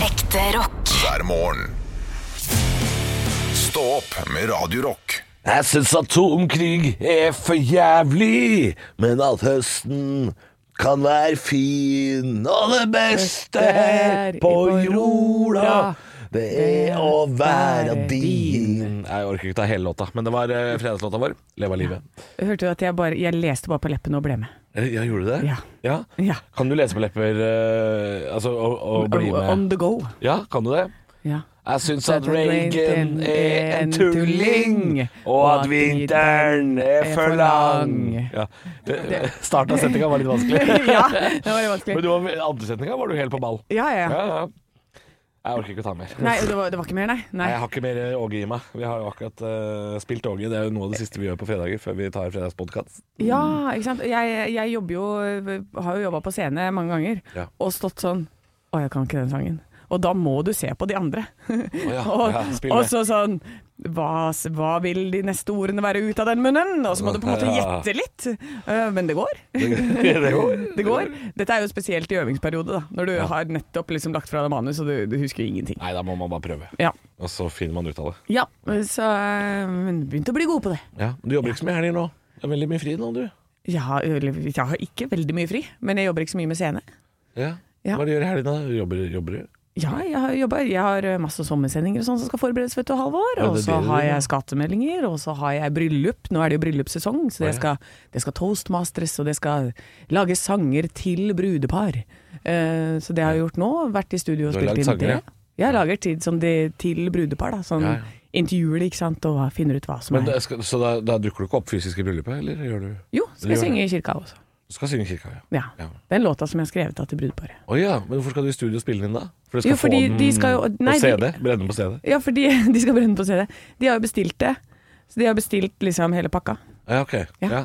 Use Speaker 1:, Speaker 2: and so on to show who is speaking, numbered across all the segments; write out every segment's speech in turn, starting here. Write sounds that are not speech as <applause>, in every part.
Speaker 1: Ekte rock.
Speaker 2: hver morgen. Stå opp med Radio Rock.
Speaker 3: Jeg syns atomkrig er for jævlig, men at høsten kan være fin, og det beste her på jorda, det er å være din. Jeg orker ikke ta hele låta, men det var eh, fredagslåta vår. Leve av livet.
Speaker 4: Hørte du at jeg bare Jeg leste bare på leppene og ble med.
Speaker 3: Eh, Ja, gjorde du det?
Speaker 4: Ja. Ja.
Speaker 3: Kan du lese på lepper eh, altså, og, og bli
Speaker 4: On
Speaker 3: med?
Speaker 4: the go.
Speaker 3: Ja, kan du det? <laughs>
Speaker 4: Ja.
Speaker 3: Jeg syns at Reagan er en tulling, og at vinteren er for lang. Ja. det- Starten av setninga var litt <laughs> vanskelig.
Speaker 4: <laughs> ja, det var litt
Speaker 3: Men
Speaker 4: vanskelig.
Speaker 3: du var, andre setninga var du helt på ball.
Speaker 4: Ja, ja, ja.
Speaker 3: Ja, ja. Jeg orker ikke å ta mer.
Speaker 4: Nei, det var, det var ikke mer, nei. nei.
Speaker 3: Nei, Jeg har ikke mer eh, Åge i meg. Vi har jo akkurat eh, spilt Åge. Det er jo noe av det siste vi gjør på fredager før vi tar fredagspodkast.
Speaker 4: Ja, ikke sant. Jeg, jeg jobber jo Har jo jobba på scene mange ganger
Speaker 3: Ja.
Speaker 4: og stått sånn Å, jeg kan ikke den sangen. Og da må du se på de andre.
Speaker 3: ja.
Speaker 4: <laughs> og,
Speaker 3: Ja, spill
Speaker 4: og
Speaker 3: med.
Speaker 4: så sånn hva, s- hva vil de neste ordene være ut av den munnen? Og så må du på en måte
Speaker 3: Ja.
Speaker 4: gjette litt. Eh, men det går.
Speaker 3: <laughs> det går.
Speaker 4: <laughs> Det går. Dette er jo spesielt i øvingsperiode, da. Når du har nettopp liksom lagt fra deg manus, og du, du husker ingenting.
Speaker 3: Nei, da må man bare prøve.
Speaker 4: Ja.
Speaker 3: Og så finner man ut av det.
Speaker 4: ja. Så eh, men begynte å bli god på det.
Speaker 3: Ja. Du jobber ikke så mye helger nå. Det er veldig mye fri nå, du.
Speaker 4: Jeg har, eller, jeg har ikke veldig mye fri, men jeg jobber ikke så mye med scene.
Speaker 3: Ja.
Speaker 4: Ja.
Speaker 3: Hva gjør du i helgene? Jobber, jobber du?
Speaker 4: Ja, jeg har jobba. Jeg har eh, masse sommersendinger og sånn som skal forberedes, vet du, Halvor.
Speaker 3: Ja, det er
Speaker 4: og så
Speaker 3: det du
Speaker 4: har
Speaker 3: gjør.
Speaker 4: jeg skattemeldinger, og så har jeg bryllup. Nå er det jo bryllupssesong, så det skal, det skal toastmastres, og det skal lages sanger til brudepar. Eh, så det har jeg gjort nå. Vært i studio og
Speaker 3: Du har
Speaker 4: spilt
Speaker 3: lagd
Speaker 4: inn
Speaker 3: sanger,
Speaker 4: det.
Speaker 3: ja.
Speaker 4: Jeg lager tid som det til brudepar, da. Sånn
Speaker 3: Ja, ja.
Speaker 4: intervjuer de, ikke sant, og hva- finner ut hva som
Speaker 3: Men da
Speaker 4: er
Speaker 3: skal, så da, da dukker du ikke opp fysisk i bryllupet, eller gjør du
Speaker 4: Jo, skal jeg
Speaker 3: Du gjør
Speaker 4: synge i kirka også.
Speaker 3: Du skal synge i kirka, ja.
Speaker 4: Ja.
Speaker 3: Ja.
Speaker 4: Den låta som jeg har skrevet da til brudeparet.
Speaker 3: Å ja, men hvorfor skal du i studio og spille den inn da? For du
Speaker 4: Jo, fordi de skal jo- nei,
Speaker 3: på CD?
Speaker 4: de-
Speaker 3: Brenne den på CD?
Speaker 4: Ja, for de, <laughs> de skal brenne på CD. De har jo bestilt det. Så de har bestilt liksom hele pakka.
Speaker 3: Ja, ok.
Speaker 4: Ja.
Speaker 3: Ja.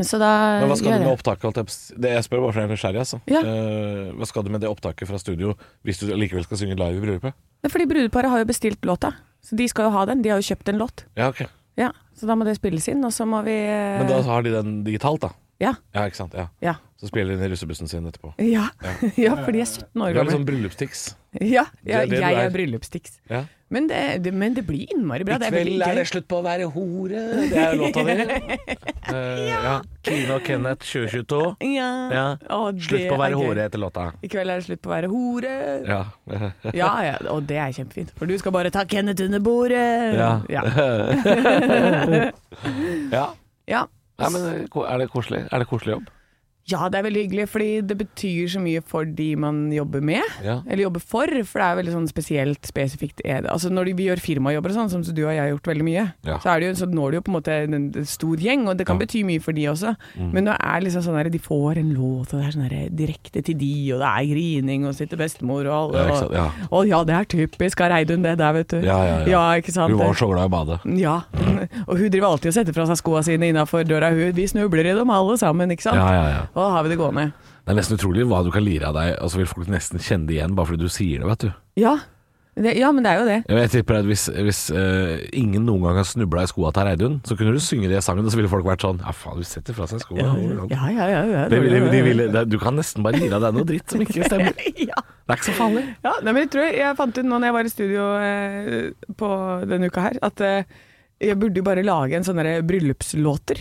Speaker 4: Så da
Speaker 3: Men hva skal
Speaker 4: gjør
Speaker 3: du med
Speaker 4: jeg-
Speaker 3: opptaket? holdt jeg på å si? Det jeg spør bare for jeg er nysgjerrig, altså.
Speaker 4: Ja.
Speaker 3: Eh, hva skal du med det opptaket fra studio hvis du likevel skal synge live i bryllupet?
Speaker 4: Det er fordi brudeparet har jo bestilt låta. Så de skal jo ha den. De har jo kjøpt en låt.
Speaker 3: Ja, ok.
Speaker 4: Ja, Så da må det spilles inn, og så må vi eh,
Speaker 3: Men da har de den digitalt, da?
Speaker 4: Ja.
Speaker 3: Ja, ikke sant. Ja.
Speaker 4: Ja.
Speaker 3: Så spiller de den i russebussen sin etterpå.
Speaker 4: Ja. <laughs> ja, fordi jeg er 17
Speaker 3: Du er
Speaker 4: år
Speaker 3: litt
Speaker 4: gammel.
Speaker 3: sånn bryllupstics.
Speaker 4: <laughs> Ja, ja
Speaker 3: Det er det du
Speaker 4: jeg
Speaker 3: er.
Speaker 4: er bryllupsdix.
Speaker 3: Ja.
Speaker 4: Men, det- det- men det blir innmari bra. Det er veldig gøy.
Speaker 3: slutt på å være hore. Det er låta di.
Speaker 4: <laughs>
Speaker 3: Eh, ja. Kine og Kenneth 2022.
Speaker 4: Ja.
Speaker 3: Ja.
Speaker 4: Å, det
Speaker 3: Slutt på å
Speaker 4: er
Speaker 3: være
Speaker 4: gøy.
Speaker 3: hore etter låta.
Speaker 4: I kveld er det slutt på å være hore.
Speaker 3: Ja.
Speaker 4: Ja, ja, og det er kjempefint. For du skal bare ta Kenneth under bordet.
Speaker 3: Ja.
Speaker 4: ja.
Speaker 3: <laughs> ja.
Speaker 4: ja.
Speaker 3: Nei, men eh, er det koselig? Er det koselig jobb?
Speaker 4: Ja, det er veldig hyggelig, fordi det betyr så mye for de man jobber med.
Speaker 3: Ja.
Speaker 4: Eller jobber for, for det er veldig sånn spesielt, spesifikt. er det. Altså Når vi gjør firmajobber og sånn, som du og jeg har gjort veldig mye,
Speaker 3: Ja.
Speaker 4: så, er det jo, så når det jo på en måte en en stor gjeng, og det
Speaker 3: Ja.
Speaker 4: kan
Speaker 3: Mm.
Speaker 4: bety mye for de også. Men nå er det liksom sånn her, de får en låt, og det er sånn her direkte til de, og det er grining, og sitter bestemor og alle.
Speaker 3: Ja, ikke sant,
Speaker 4: og,
Speaker 3: ja.
Speaker 4: og ja, det er typisk av Reidun det der, vet du.
Speaker 3: Ja, ja, ja.
Speaker 4: ikke sant?
Speaker 3: Hun var så Mm. glad i å bade.
Speaker 4: Ja, og hun driver alltid og setter fra seg skoene sine innafor døra. Hun, vi snubler i dem alle sammen, ikke sant?
Speaker 3: Ja, ja, ja.
Speaker 4: Og da har vi det gående.
Speaker 3: Det er nesten utrolig hva du kan lire av deg, og så vil folk nesten kjenne det igjen bare fordi du sier det, vet du.
Speaker 4: Ja, det, ja men det er jo det.
Speaker 3: Ja, men Jeg tipper at hvis, hvis eh, ingen noen gang har snubla i skoa til Reidun, så kunne du synge det i sangen, og så ville folk vært sånn Ja, faen, du setter fra seg skoa. hvordan-
Speaker 4: Ja, ja, ja. ja,
Speaker 3: Det ville- de ville- det- Du kan nesten bare lire av deg noe dritt som ikke stemmer. Det
Speaker 4: <laughs> ja.
Speaker 3: er ikke så farlig.
Speaker 4: ja nei, men jeg tror jeg fant ut nå når jeg var i studio eh, på denne uka her, at eh, jeg burde jo bare lage en sånn derre bryllupslåter.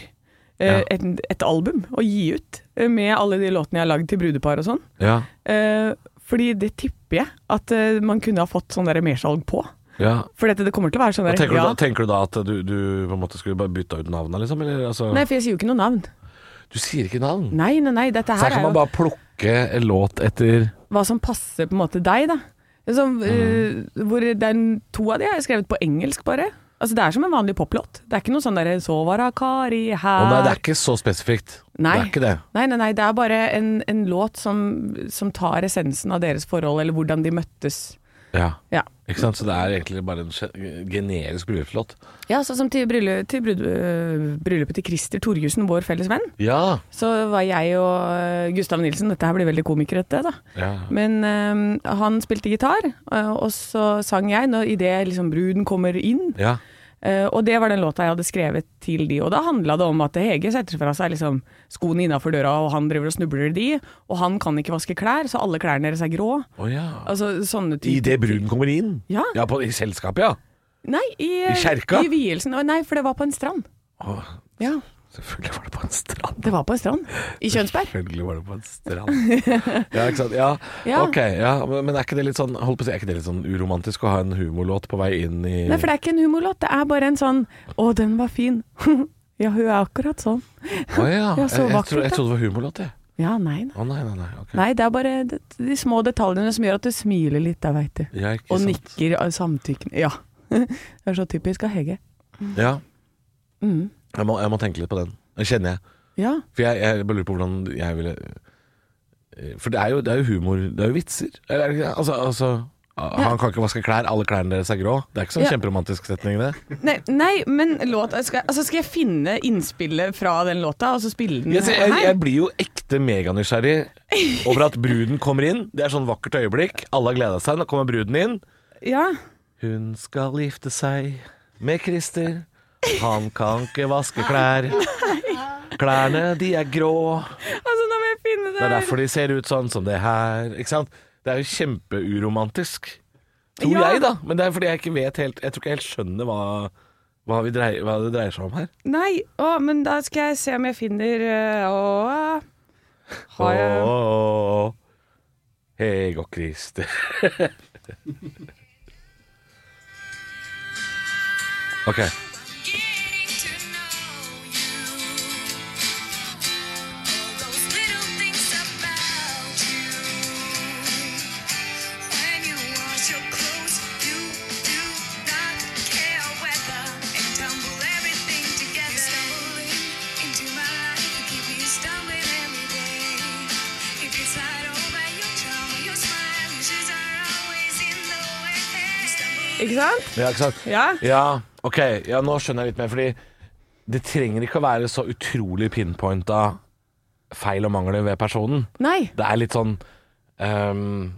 Speaker 4: Eh,
Speaker 3: Ja.
Speaker 4: et, et album å gi ut eh, med alle de låtene jeg har lagd til brudepar og sånn.
Speaker 3: Ja,
Speaker 4: Eh, fordi det tipper jeg at eh, man kunne ha fått sånn derre mersalg på.
Speaker 3: ja.
Speaker 4: For dette, det kommer til å være sånn
Speaker 3: Og
Speaker 4: der
Speaker 3: Tenker,
Speaker 4: ja.
Speaker 3: du da, tenker du da at du, du på en måte skulle bare bytta ut navnet, liksom? Eller, altså,
Speaker 4: Nei, for jeg sier jo ikke noe navn.
Speaker 3: du sier ikke navn.
Speaker 4: Nei, nei, nei. Dette
Speaker 3: Så her
Speaker 4: her
Speaker 3: kan
Speaker 4: er
Speaker 3: man
Speaker 4: jo
Speaker 3: bare plukke en låt etter
Speaker 4: hva som passer på en måte deg, da. Som,
Speaker 3: Mhm.
Speaker 4: eh, hvor det er en- to av de har jeg skrevet på engelsk, bare. Altså Det er som en vanlig poplåt. Det er ikke noe sånn derre 'Så var det Kari
Speaker 3: Å
Speaker 4: her'
Speaker 3: nei, det er ikke så spesifikt.
Speaker 4: Nei.
Speaker 3: Det er ikke det.
Speaker 4: Nei, nei, nei, det er bare en, en låt som, som tar essensen av deres forhold, eller hvordan de møttes.
Speaker 3: Ja.
Speaker 4: Ja,
Speaker 3: Ikke sant? Så det er egentlig bare en ge- generisk bryllupslåt.
Speaker 4: ja sånn som til, bryllu- til brud, øh, bryllupet til Christer Torjussen, vår felles venn,
Speaker 3: Ja.
Speaker 4: så var jeg og øh, Gustav Nilsen Dette her blir veldig komikerete, da.
Speaker 3: ja.
Speaker 4: Men øhm, øh, han spilte gitar, øh, og så sang jeg når, i det liksom bruden kommer inn.
Speaker 3: Ja.
Speaker 4: Eh, og det var den låta jeg hadde skrevet til de, og da handla det om at Hege setter fra seg liksom skoene innafor døra, og han driver og snubler i de, og han kan ikke vaske klær, så alle klærne deres er grå.
Speaker 3: Å ja.
Speaker 4: Altså sånne
Speaker 3: I
Speaker 4: typer
Speaker 3: det bruden kommer inn?
Speaker 4: Ja.
Speaker 3: ja på, I selskapet, ja.
Speaker 4: Nei, i,
Speaker 3: I kjerka?
Speaker 4: I vielsen. Å, Nei, for det var på en strand.
Speaker 3: Å,
Speaker 4: Ja,
Speaker 3: selvfølgelig var det på en strand.
Speaker 4: det var på en strand. I Kjønsberg.
Speaker 3: Selvfølgelig var det på en strand.
Speaker 4: <laughs>
Speaker 3: Ja, ikke sant? Ja,
Speaker 4: Ja.
Speaker 3: ok. Ja. Men men er ikke det litt sånn holdt på å si, er ikke det litt sånn uromantisk å ha en humorlåt på vei inn i
Speaker 4: Nei, for det er ikke en humorlåt, det er bare en sånn 'Å, den var fin'. <laughs> ja, hun er akkurat sånn.
Speaker 3: Å ja.
Speaker 4: Ja,
Speaker 3: Jeg,
Speaker 4: så
Speaker 3: jeg,
Speaker 4: vakkert,
Speaker 3: trodde- jeg
Speaker 4: da.
Speaker 3: trodde det var humorlåt, jeg.
Speaker 4: Ja, nei, nei.
Speaker 3: Å nei, nei, nei. ok.
Speaker 4: Nei, det er bare de, de små detaljene som gjør at du smiler litt, da, veit du.
Speaker 3: Ja, ikke sånn.
Speaker 4: Og
Speaker 3: sant.
Speaker 4: nikker av samtykken. Ja. <laughs> det er så typisk av Hege.
Speaker 3: Ja.
Speaker 4: Mm.
Speaker 3: Jeg må, jeg må tenke litt på den. Den kjenner jeg.
Speaker 4: Ja.
Speaker 3: For jeg, jeg bare lurer på hvordan jeg ville eh, For det er jo, det er jo humor, det er jo vitser. Eller, er det ikke det? altså, altså Han kan ikke vaske klær, alle klærne deres er grå. Det er ikke sånn
Speaker 4: Ja.
Speaker 3: kjemperomantisk setning, det.
Speaker 4: Nei, nei men låt skal, altså skal jeg finne innspillet fra den låta, og så spille den
Speaker 3: Jeg, ser- jeg, jeg blir jo ekte meganysgjerrig over at bruden kommer inn. Det er sånn vakkert øyeblikk. Alle har gleda seg. Nå kommer bruden inn.
Speaker 4: Ja.
Speaker 3: Hun skal gifte seg med Christer. Han kan ikke vaske klær. Klærne, de er grå.
Speaker 4: Altså, nå må jeg finne
Speaker 3: Det
Speaker 4: det
Speaker 3: er derfor de ser ut sånn som det her. Ikke sant? Det er jo kjempeuromantisk. Tror
Speaker 4: Ja.
Speaker 3: jeg, da. Men det er fordi jeg ikke vet helt Jeg tror ikke jeg helt skjønner hva, hva, vi dreier, hva det dreier seg om her.
Speaker 4: Nei, å, men da skal jeg se om jeg finner øh, Å Har jeg
Speaker 3: Åh, Hege og Christer. <laughs> ok.
Speaker 4: Ikke sant?
Speaker 3: Ja, ikke sant?
Speaker 4: Ja.
Speaker 3: Ja, ok, ja, nå skjønner jeg litt mer Fordi det trenger ikke å være så utrolig pinpointa Feil og mangler ved personen
Speaker 4: Nei.
Speaker 3: Det er litt sånn ehm,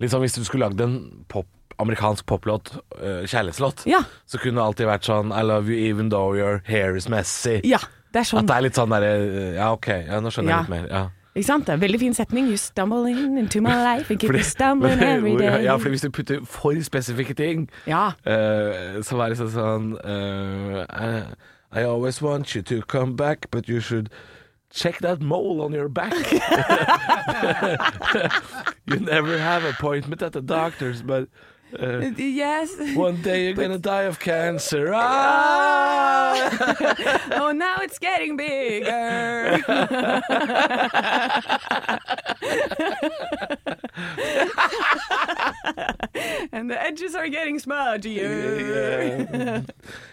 Speaker 3: Litt sånn hvis du skulle lagd en pop, amerikansk poplåt eh, Kjærlighetslåt
Speaker 4: Ja.
Speaker 3: Så kunne det alltid vært sånn I love you even though your hair is messy
Speaker 4: Ja, det er
Speaker 3: At
Speaker 4: sånn.
Speaker 3: det er litt sånn der eh, Ja, ok, ja, nå skjønner
Speaker 4: Ja.
Speaker 3: jeg litt mer ja.
Speaker 4: Ikke sant? Det er en veldig fin setning. You stumble in into my life and keep me
Speaker 3: <laughs>
Speaker 4: stumbling every day.
Speaker 3: ja, fordi hvis du putter for spesifikke ting
Speaker 4: Ja.
Speaker 3: Eh, så var det sånn sånn eh, I, I always want you to come back, but you should check that mole on your back. <laughs> you never have appointment at the doctor's, but eh,
Speaker 4: Yes.
Speaker 3: one day you're gonna die of cancer. Ah!
Speaker 4: <laughs> Oh, now it's getting <laughs> bigger. And the edges are getting smudgier.
Speaker 3: Yeah.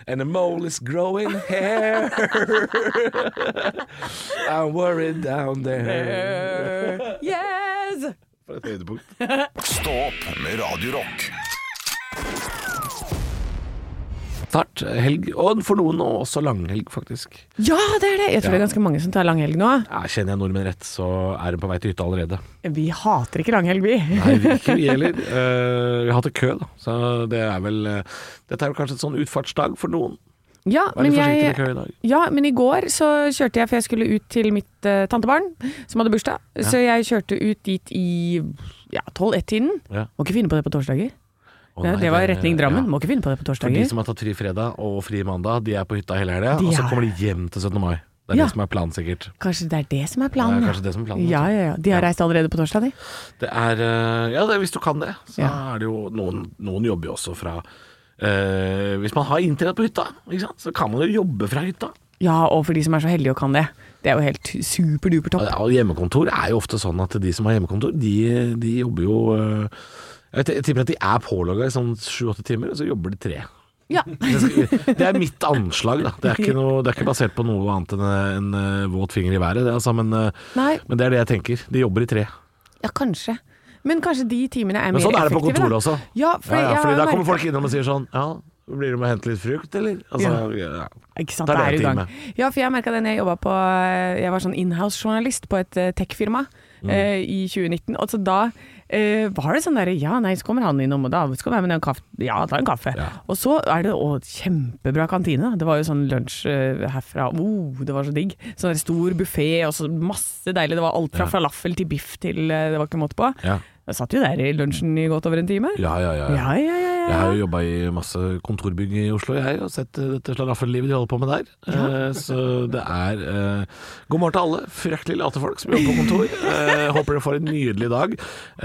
Speaker 3: And the mole is <laughs> growing hair. I'm worried down there.
Speaker 4: Yes!
Speaker 3: For et høydepunkt.
Speaker 2: Stå opp med Radio Rock.
Speaker 3: Snart helg, og for noen også langhelg, faktisk.
Speaker 4: Ja, det er det! Jeg tror det er ganske mange som tar langhelg nå.
Speaker 3: Ja, kjenner jeg nordmenn rett, så er de på vei til hytta allerede.
Speaker 4: Vi hater ikke langhelg, vi.
Speaker 3: Nei, ikke vi heller. Eh, vi har hatt en kø, da. Så det er vel eh, Dette er jo kanskje en sånn utfartsdag for noen.
Speaker 4: <laughs> Ja,
Speaker 3: Vær
Speaker 4: men
Speaker 3: litt forsiktig med
Speaker 4: jeg
Speaker 3: kø i dag.
Speaker 4: ja, men i går så kjørte jeg, for jeg skulle ut til mitt eh, tantebarn som hadde bursdag. Så jeg kjørte ut dit i ja, 12-1-tiden.
Speaker 3: Ja.
Speaker 4: Må ikke finne på det på torsdager.
Speaker 3: Å,
Speaker 4: Nei,
Speaker 3: nei,
Speaker 4: det var
Speaker 3: det-
Speaker 4: retning Drammen.
Speaker 3: ja.
Speaker 4: Må ikke finne på det på
Speaker 3: For de
Speaker 4: torsdager.
Speaker 3: som har tatt fri fredag og fri mandag, de er på hytta hele helga,
Speaker 4: De
Speaker 3: og så
Speaker 4: er-
Speaker 3: kommer de hjem til 17. mai. Det er
Speaker 4: Ja.
Speaker 3: det som er planen, sikkert.
Speaker 4: Kanskje det er det som er
Speaker 3: Det
Speaker 4: planen?
Speaker 3: er
Speaker 4: ja.
Speaker 3: kanskje det som er planen.
Speaker 4: Ja, ja, ja. De har reist allerede på torsdag, de.
Speaker 3: Det er eh, Ja, det, hvis du kan det, så
Speaker 4: Ja.
Speaker 3: er det jo Noen, noen jobber jo også fra eh, Hvis man har internett på hytta, ikke sant? så kan man jo jobbe fra hytta.
Speaker 4: Ja, og for de som er så heldige og kan det. Det er jo helt superduper topp.
Speaker 3: Ja, og hjemmekontor er jo ofte sånn at de som har hjemmekontor, de, de jobber jo øh, jeg, vet- jeg tipper at de er pålogga i sånn sju-åtte timer, og så jobber de tre.
Speaker 4: Ja. <laughs>
Speaker 3: Det skal- det er mitt anslag, da. Det er ikke, noe, det er ikke basert på noe annet enn en øh, våt finger i været, det, altså. Men, øh,
Speaker 4: Nei.
Speaker 3: men det er det jeg tenker. De jobber i tre.
Speaker 4: Ja, kanskje. Men kanskje de timene er mer
Speaker 3: Men
Speaker 4: effektive.
Speaker 3: sånn er det på kontoret
Speaker 4: da.
Speaker 3: også.
Speaker 4: Ja, for
Speaker 3: Ja, ja,
Speaker 4: jeg
Speaker 3: fordi
Speaker 4: har
Speaker 3: da kommer
Speaker 4: merket-
Speaker 3: folk innom og sier sånn Ja, blir du med og henter litt frukt, eller? Altså, ja.
Speaker 4: Ikke sant,
Speaker 3: Da
Speaker 4: det
Speaker 3: er
Speaker 4: er
Speaker 3: det
Speaker 4: i
Speaker 3: en
Speaker 4: gang. Ja, for jeg merka det når jeg jobba på
Speaker 3: Mm.
Speaker 4: eh, Jeg var sånn inhouse-journalist på et eh, tech-firma eh, i 2019. Og så da eh, var det sånn derre Ja, nei, så kommer han innom, og da skal vi ha med den kaffe. Ja, ta en kaffe.
Speaker 3: Ja.
Speaker 4: Og så er det å, kjempebra kantine. da. Det var jo sånn lunsj eh, herfra. Oh, det var så digg. Sånn der stor buffé og så masse deilig. Det var alt fra falafel til biff til eh, Det var ikke måte på.
Speaker 3: Ja.
Speaker 4: Jeg satt jo der i lunsjen i godt over en time.
Speaker 3: Ja, ja, ja.
Speaker 4: Ja, ja, ja.
Speaker 3: Jeg
Speaker 4: ja.
Speaker 3: har jo jobba i masse kontorbygg i Oslo jeg, og sett eh, dette slaraffenlivet de holder på med der. Eh, så det er eh, God morgen til alle fryktelig late folk som jobber på kontor. Eh, håper dere får en nydelig dag.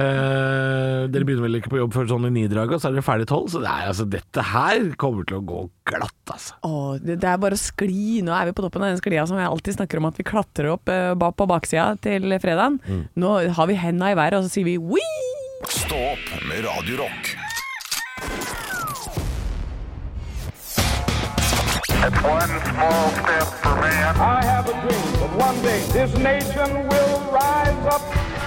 Speaker 3: Eh, dere begynner vel ikke på jobb før sånn i nidraget, og så er dere ferdig tolv. Så det er, altså, dette her kommer til å gå glatt, altså.
Speaker 4: Åh, det, det er bare å skli. Nå er vi på toppen av den sklia som jeg alltid snakker om at vi klatrer opp eh, ba- på baksida til fredagen.
Speaker 3: Mm.
Speaker 4: Nå har vi henda i været, og så sier vi wii!
Speaker 2: Stå opp med Radio Rock.
Speaker 5: One small step for man.
Speaker 6: I have a dream that one day this nation will rise up.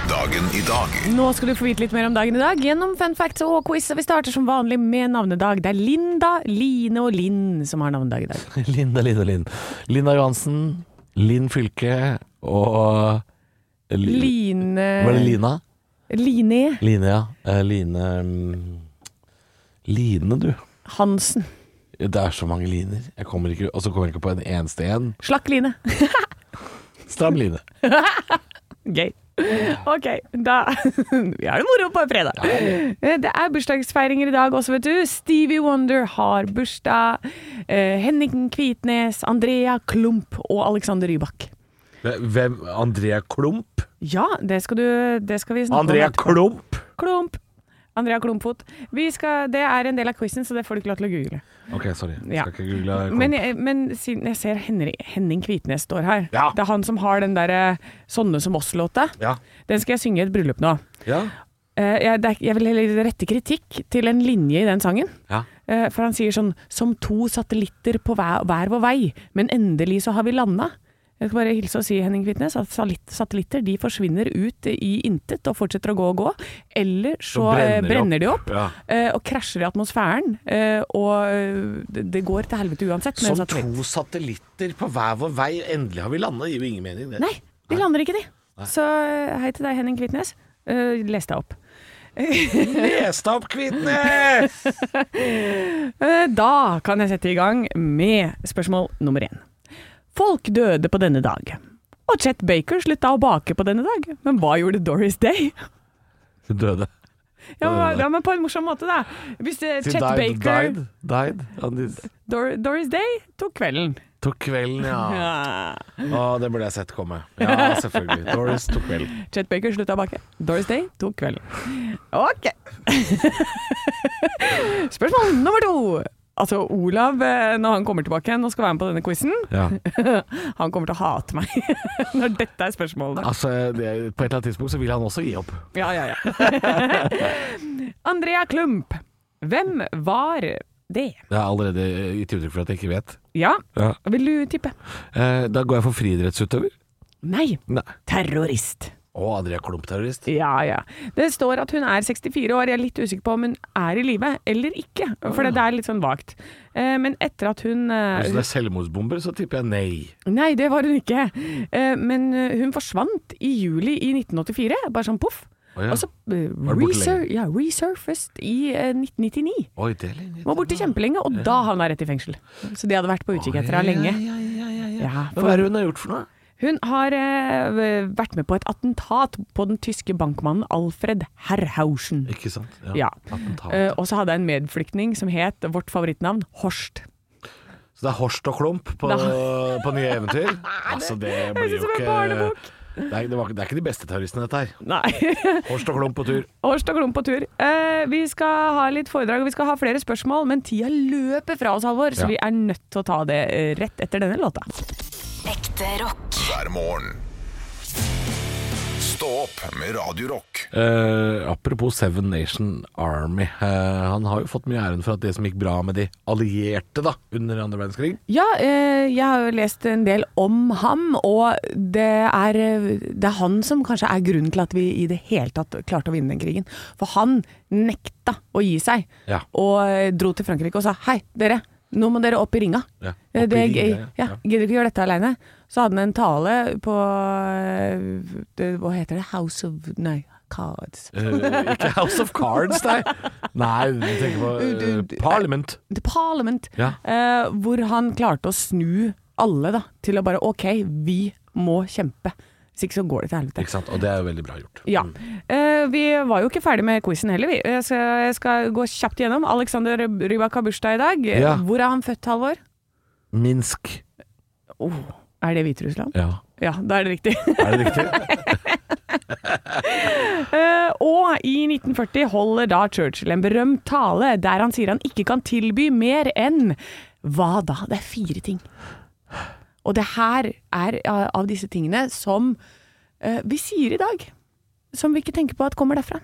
Speaker 2: Dagen i dag
Speaker 4: Nå skal du få vite litt mer om dagen i dag gjennom fun facts og quiz. Og vi starter som vanlig med navnedag. Det er Linda, Line og Linn som har navnedag i dag.
Speaker 3: <laughs> <laughs> Linda, Linda, Linn. Linda Johansen, Linn Fylke og Li-
Speaker 4: Line
Speaker 3: Var det Lina?
Speaker 4: Line
Speaker 3: Line, ja. Eh, Line mm, Line, du.
Speaker 4: Hansen.
Speaker 3: Det er så mange liner. Jeg kommer ikke, og så kommer jeg ikke på en eneste en.
Speaker 4: Slakk Line.
Speaker 3: Stram line.
Speaker 4: Gøy. Ok, da <laughs> Vi har det moro på en fredag. Eh, Det er bursdagsfeiringer i dag også, vet du. Stevie Wonder har bursdag. Eh, Henning Kvitnes, Andrea Klump og Alexander Rybak.
Speaker 3: Hvem? Andrea Klump?
Speaker 4: Ja, det skal, du, det skal vi snakke
Speaker 3: Andrea
Speaker 4: om. etterpå.
Speaker 3: Klump!
Speaker 4: Klump. Andrea Klumpfot. Vi skal, det er en del av quizen, så det får du ikke lov til å google.
Speaker 3: Ok, sorry. Skal
Speaker 4: Ja.
Speaker 3: ikke google Klump.
Speaker 4: Men, jeg- men siden jeg ser Henri, Henning Kvitnes står her
Speaker 3: Ja.
Speaker 4: Det er han som har den derre 'Sånne som oss'-låta.
Speaker 3: ja.
Speaker 4: Den skal jeg synge i et bryllup nå.
Speaker 3: Ja.
Speaker 4: Eh, jeg, det er, jeg vil heller rette kritikk til en linje i den sangen.
Speaker 3: Ja.
Speaker 4: Eh, for han sier sånn Som to satellitter på hver, hver vår vei, men endelig så har vi landa. Jeg skal bare hilse og si Henning Kvitnes at satellitt- satellitter de forsvinner ut i intet og fortsetter å gå og gå. Eller så, eh, brenner de opp,
Speaker 3: Ja.
Speaker 4: eh, og krasjer i atmosfæren. eh, og eh, det, det går til helvete uansett med en
Speaker 3: Som
Speaker 4: satellitt.
Speaker 3: to satellitter på hver vår vei. Endelig har vi landa. Det gir jo ingen mening, det.
Speaker 4: Nei, de lander ikke, de. Så eh, hei til deg, Henning Kvitnes. Eh, les deg opp.
Speaker 3: Les deg opp, <laughs> Kvitnes!
Speaker 4: Eh, Da kan jeg sette i gang med spørsmål nummer én. Folk døde på denne dag. Og Chet Baker slutta å bake på denne dag. Men hva gjorde Doris Day?
Speaker 3: Hun døde.
Speaker 4: Ja, men, ja, men på en morsom måte, da. Hvis eh,
Speaker 3: She
Speaker 4: Chet
Speaker 3: died,
Speaker 4: Baker
Speaker 3: died, died. And it-
Speaker 4: Dor Doris Day tok kvelden.
Speaker 3: Tok kvelden, ja.
Speaker 4: Ja.
Speaker 3: Å, det burde jeg sett komme. Ja, selvfølgelig. Doris tok kvelden.
Speaker 4: Chet Baker slutta å bake. Doris Day tok kvelden. Ok. <laughs> Spørsmål nummer to. Altså, Olav, eh, når han kommer tilbake igjen og skal være med på denne quizen,
Speaker 3: Ja.
Speaker 4: han kommer til å hate meg <laughs> når dette er spørsmålet.
Speaker 3: Altså, det, på et eller annet tidspunkt så vil han også gi opp.
Speaker 4: Ja, <laughs> ja, ja. Andrea Klump. Hvem var det?
Speaker 3: Jeg har allerede eh, gitt uttrykk for at jeg ikke vet.
Speaker 4: Ja,
Speaker 3: Ja.
Speaker 4: vil du tippe?
Speaker 3: Eh, da går jeg for friidrettsutøver.
Speaker 4: Nei,
Speaker 3: Nei.
Speaker 4: terrorist.
Speaker 3: Å, Andrea Klump-terrorist.
Speaker 4: Ja, ja. Det står at hun er 64 år. Jeg er litt usikker på om hun er i live eller ikke, for det det er litt sånn vagt. Eh, Men etter at hun eh,
Speaker 3: Hvis det er selvmordsbomber, så tipper jeg nei.
Speaker 4: Nei, det var hun ikke. Eh, Men eh, hun forsvant i juli i 1984, bare sånn poff.
Speaker 3: Å, ja.
Speaker 4: Og så eh,
Speaker 3: Var det borte
Speaker 4: resur ja, resurfaced i eh, 1999.
Speaker 3: Oi, det er litt
Speaker 4: Var borte kjempelenge, og da havna jeg rett i fengsel. Så de hadde vært på utkikk etter henne lenge.
Speaker 3: Ja, ja, ja, ja.
Speaker 4: Ja,
Speaker 3: Hva
Speaker 4: for
Speaker 3: er det hun har gjort for noe?
Speaker 4: hun har eh, vært med på et attentat på den tyske bankmannen Alfred Herrhausen.
Speaker 3: Ikke sant?
Speaker 4: Ja.
Speaker 3: Attentat.
Speaker 4: Eh, og så hadde jeg en medflyktning som het vårt favorittnavn Horst.
Speaker 3: Så det er Horst og Klump på, <laughs> på nye eventyr?
Speaker 4: <laughs>
Speaker 3: Altså, det blir
Speaker 4: synes
Speaker 3: jo
Speaker 4: det var
Speaker 3: ikke
Speaker 4: barnebok.
Speaker 3: det er, det, var, det er ikke de beste terroristene, dette
Speaker 4: <laughs>
Speaker 3: her.
Speaker 4: Nei.
Speaker 3: Horst og Klump på tur.
Speaker 4: Horst og Klump på tur. Eh, vi skal ha litt foredrag og vi skal ha flere spørsmål, men tida løper fra oss, Halvor, så
Speaker 3: Ja.
Speaker 4: vi er nødt til å ta det eh, rett etter denne låta.
Speaker 1: Ekte rock.
Speaker 2: hver morgen. Stå opp med Radio Rock.
Speaker 3: Eh, apropos Seven Nation Army. eh, han har jo fått mye æren for at det som gikk bra med de allierte da, under andre verdenskrig
Speaker 4: Ja, eh, jeg har jo lest en del om ham, og det er, det er han som kanskje er grunnen til at vi i det hele tatt klarte å vinne den krigen. For han nekta å gi seg,
Speaker 3: Ja.
Speaker 4: og eh, dro til Frankrike og sa hei, dere, nå må dere opp i ringa.
Speaker 3: Ja, opp
Speaker 4: Eh,
Speaker 3: i
Speaker 4: det,
Speaker 3: ringa,
Speaker 4: ja.
Speaker 3: ja.
Speaker 4: Gidder ikke gjøre dette aleine. Så hadde han en tale på eh, det, Hva heter det? House of Nei, Cards.
Speaker 3: Eh, ikke House of Cards, nei. Nei, du tenker på eh, Parliament.
Speaker 4: The Parliament,
Speaker 3: Ja.
Speaker 4: eh, hvor han klarte å snu alle da, til å bare OK, vi må kjempe. Hvis ikke så går det til helvete.
Speaker 3: Ikke sant? Og det er jo veldig bra gjort. Mm.
Speaker 4: Ja. Eh, vi var jo ikke ferdig med quizen heller, vi. Jeg skal, jeg skal gå kjapt gjennom. Alexander Rybak har bursdag i dag.
Speaker 3: Ja.
Speaker 4: Hvor er han født, Halvor?
Speaker 3: Minsk.
Speaker 4: Oh, er det Hviterussland?
Speaker 3: Ja.
Speaker 4: Ja, da er det riktig.
Speaker 3: Er det
Speaker 4: <laughs>
Speaker 3: riktig?
Speaker 4: Eh, og i 1940 holder da Churchill en berømt tale der han sier han ikke kan tilby mer enn Hva da? Det er fire ting. Og det her er eh, av disse tingene som eh, vi sier i dag. Som vi ikke tenker på at kommer derfra.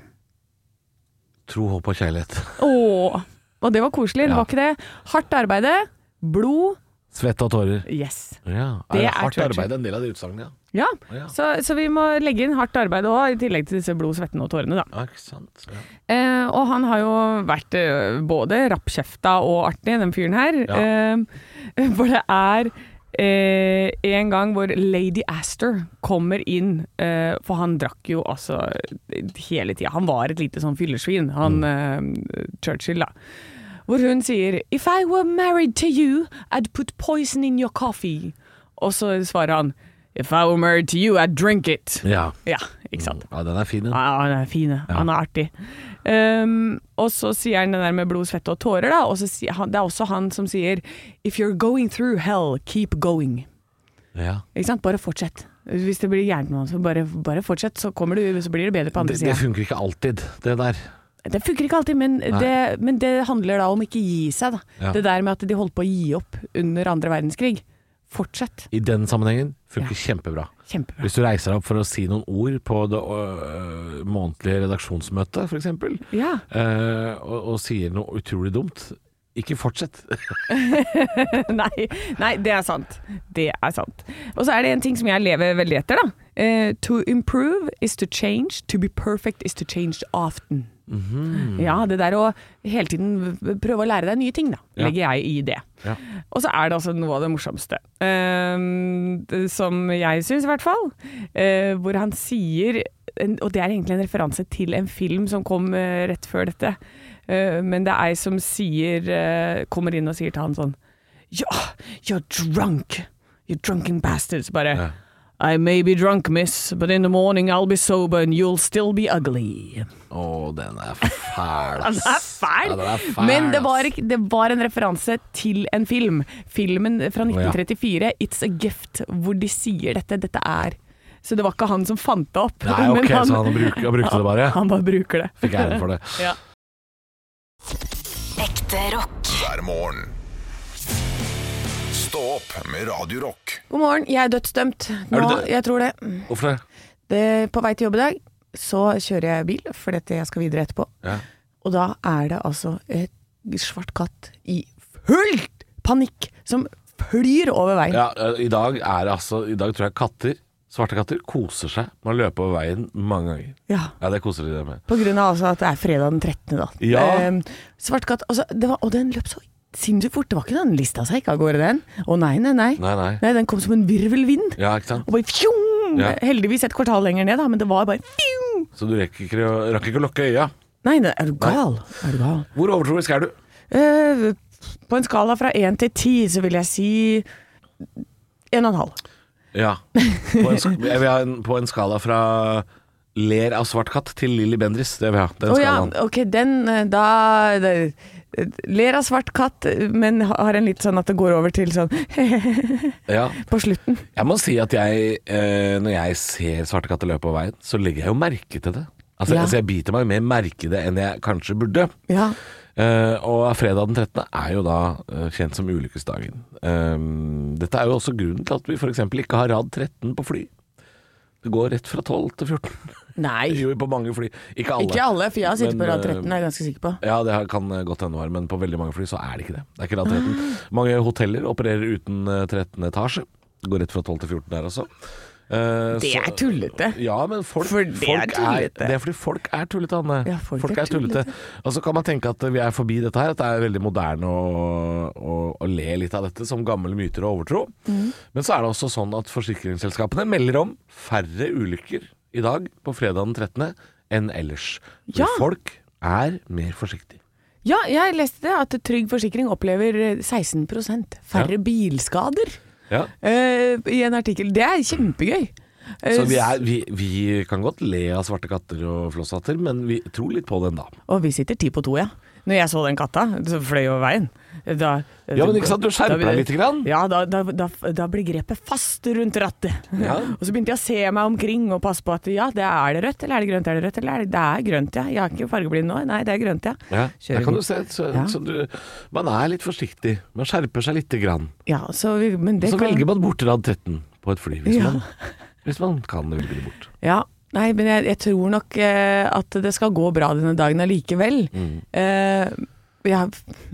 Speaker 3: Tro, håp og kjærlighet.
Speaker 4: Åh, og det var koselig, det
Speaker 3: Ja.
Speaker 4: var ikke det? Hardt arbeide, blod,
Speaker 3: Svette og tårer.
Speaker 4: yes.
Speaker 3: Ja.
Speaker 4: Det
Speaker 3: Er
Speaker 4: er
Speaker 3: det hardt
Speaker 4: Churchill.
Speaker 3: arbeid en del av de utsagnene? Ja.
Speaker 4: Ja,
Speaker 3: Ja.
Speaker 4: Så, så vi må legge inn hardt arbeid òg, i tillegg til disse blod, svetten og tårene, da.
Speaker 3: Ja, ikke sant. Ja.
Speaker 4: Eh, og han har jo vært eh, både rappkjefta og artig, den fyren her. Eh, <laughs> for det er eh, en gang hvor Lady Aster kommer inn, eh, for han drakk jo altså hele tida. Han var et lite sånn fyllesvin, han eh, Churchill, da. Hvor hun sier If I were married to you, I'd put poison in your coffee. Og så svarer han If I were married to you, I'd drink it.
Speaker 3: Ja.
Speaker 4: Ja, ikke sant.
Speaker 3: Mm. ja, den er fin, den.
Speaker 4: Ja, han er fin. ja. Han er artig. Ehm, og så sier han den der med blod, svette og tårer, da. Og så sier han, det er også han som sier If you're going through hell, keep going.
Speaker 3: Ja.
Speaker 4: Ikke sant? Bare fortsett. Hvis det blir gærent med han, så bare, bare fortsett, så, kommer du, så blir det bedre på andre
Speaker 3: Det, det
Speaker 4: sida.
Speaker 3: funker ikke alltid, det der.
Speaker 4: Det funker ikke alltid, men det, men det handler da om ikke gi seg, da.
Speaker 3: Ja.
Speaker 4: Det der med at de holdt på å gi opp under andre verdenskrig. Fortsett.
Speaker 3: I den sammenhengen funker kjempebra.
Speaker 4: Kjempebra.
Speaker 3: Hvis du reiser deg opp for å si noen ord på det øh, månedlige redaksjonsmøtet, f.eks.,
Speaker 4: Ja.
Speaker 3: øh, og, og sier noe utrolig dumt, ikke fortsett.
Speaker 4: <laughs> nei, nei, det er sant. Det er sant. Og så er det en ting som jeg lever veldig etter, da. Eh, to improve is to change. To be perfect is to change often.
Speaker 3: Mhm.
Speaker 4: Ja, det der å hele tiden prøve å lære deg nye ting, da.
Speaker 3: Ja.
Speaker 4: Legger jeg i det.
Speaker 3: Ja.
Speaker 4: Og så er det altså noe av det morsomste. eh, det- som jeg syns, i hvert fall. eh, hvor han sier en- Og det er egentlig en referanse til en film som kom eh, rett før dette. Eh, men det er ei som sier eh, Kommer inn og sier til han sånn ja, you're drunk. You drunken bastards. Bare I may be drunk, miss, but in the morning I'll be sober and you'll still be ugly.
Speaker 3: <laughs> Å, den er fæl,
Speaker 4: <laughs> Den
Speaker 3: ass.
Speaker 4: er fæl!
Speaker 3: Ja, den er fæl
Speaker 4: Men det var,
Speaker 3: ass.
Speaker 4: ikke, det var en referanse til en film. Filmen fra 1934, It's a Gift, hvor de sier dette. Dette er Så det var ikke han som fant det opp.
Speaker 3: Nei,
Speaker 4: <laughs> men
Speaker 3: ok, så han bruk, han brukte det bare.
Speaker 4: <laughs> Han bare bruker det.
Speaker 3: Fikk æren for det.
Speaker 4: Ja.
Speaker 1: Ekte rock.
Speaker 2: hver morgen. Stå opp med Radio Rock.
Speaker 4: God morgen, jeg er dødsdømt.
Speaker 3: Er
Speaker 4: Nå,
Speaker 3: du død?
Speaker 4: jeg tror det.
Speaker 3: Hvorfor det?
Speaker 4: det. På vei til jobb i dag, så kjører jeg bil, for dette jeg skal videre etterpå.
Speaker 3: Ja.
Speaker 4: Og da er det altså et svart katt i fullt panikk som flyr over veien.
Speaker 3: Ja, øh, i dag er det altså I dag tror jeg katter, svarte katter, koser seg med å løpe over veien mange ganger.
Speaker 4: Ja.
Speaker 3: Ja, det koser de seg med.
Speaker 4: På grunn av altså at det er fredag den 13. da.
Speaker 3: Ja.
Speaker 4: Ehm, svart katt, altså, det var, og den løp så sinnssykt fort. Det var ikke den lista seg ikke av gårde, den. Å nei, nei, nei.
Speaker 3: Nei, nei.
Speaker 4: den kom som en virvelvind.
Speaker 3: Ja, ikke sant?
Speaker 4: Og bare fjong!
Speaker 3: Ja.
Speaker 4: Heldigvis et kvartal lenger ned, da, men det var bare fjong!
Speaker 3: Så du rekker ikke, å- rakk ikke å lukke øya.
Speaker 4: Nei, nei, er du gal? Er du gal?
Speaker 3: Hvor overtroisk er du?
Speaker 4: Eh, på en skala fra 1 til 10 så vil jeg si 1,5.
Speaker 3: Ja. På en, sk- jeg vil ha en, på en skala fra Ler av svart katt til Lilly Bendriss. Det vil jeg ha. Den
Speaker 4: Å ja,
Speaker 3: skalaen.
Speaker 4: ok, den eh, da det, Ler av svart katt, men har en litt sånn at det går over til sånn <laughs>
Speaker 3: Ja.
Speaker 4: på slutten.
Speaker 3: Jeg må si at jeg, eh, når jeg ser svarte katter løpe på veien, så legger jeg jo merke til det. Altså,
Speaker 4: Ja.
Speaker 3: altså Jeg biter meg mer merke i det enn jeg kanskje burde.
Speaker 4: Ja.
Speaker 3: Eh, og fredag den 13. er jo da eh, kjent som ulykkesdagen. Eh, dette er jo også grunnen til at vi f.eks. ikke har rad 13 på fly. Det går rett fra 12 til <laughs> 14.
Speaker 4: Nei.
Speaker 3: Jo, på mange fly. Ikke alle.
Speaker 4: Ikke alle, for jeg har sittet
Speaker 3: Men,
Speaker 4: på rad
Speaker 3: eh,
Speaker 4: 13, er jeg ganske sikker på.
Speaker 3: Ja, det kan eh, godt hende, Håvard, men på veldig mange fly så er det ikke det. Det er ikke rad 13.
Speaker 4: Ah.
Speaker 3: Mange hoteller opererer uten eh, 13. etasje. Det Går rett fra 12 til 14 der også. Eh,
Speaker 4: Det
Speaker 3: så-
Speaker 4: er tullete.
Speaker 3: Ja, men folk,
Speaker 4: For det er
Speaker 3: folk
Speaker 4: tullete.
Speaker 3: det er fordi folk er tullete, Anne.
Speaker 4: Ja, folk er tullete.
Speaker 3: <laughs> Og så kan man tenke at vi er forbi dette her, at det er veldig moderne å, å, å le litt av dette som gamle myter og overtro.
Speaker 4: Mm.
Speaker 3: Men så er det også sånn at forsikringsselskapene melder om færre ulykker i dag på fredag den 13. enn ellers. For
Speaker 4: Ja.
Speaker 3: folk er mer forsiktige.
Speaker 4: Ja, jeg leste det at Trygg Forsikring opplever eh, 16 færre bilskader
Speaker 3: Ja.
Speaker 4: eh, i en artikkel. Det er kjempegøy. Eh,
Speaker 3: Så vi, er, vi, vi kan godt le av svarte katter og flosshatter, men vi tror litt på den da.
Speaker 4: Og vi sitter ti på to, ja. Når jeg så den katta, så fløy over veien. Da,
Speaker 3: Ja, men ikke sant, du skjerper
Speaker 4: da-
Speaker 3: deg lite grann.
Speaker 4: Ja, da, da, da, da ble grepet fast rundt rattet.
Speaker 3: Ja.
Speaker 4: <laughs> og så begynte jeg å se meg omkring og passe på at ja, det er det rødt, eller er det grønt, er det rødt, eller er det, det er grønt, ja. Jeg er ikke fargeblind nå, nei, det er grønt, ja.
Speaker 3: Der
Speaker 4: Kjører
Speaker 3: kan
Speaker 4: den.
Speaker 3: du se, så,
Speaker 4: Ja.
Speaker 3: så du, man er litt forsiktig. Man skjerper seg lite grann.
Speaker 4: Ja, så vi, men det
Speaker 3: Så
Speaker 4: kan...
Speaker 3: velger man bort rad 13 på et fly, hvis,
Speaker 4: Ja.
Speaker 3: man, hvis man kan velge det bort.
Speaker 4: Ja, nei, men jeg, jeg tror nok eh, at det skal gå bra denne dagen allikevel.
Speaker 3: Mm.
Speaker 4: Eh, ja,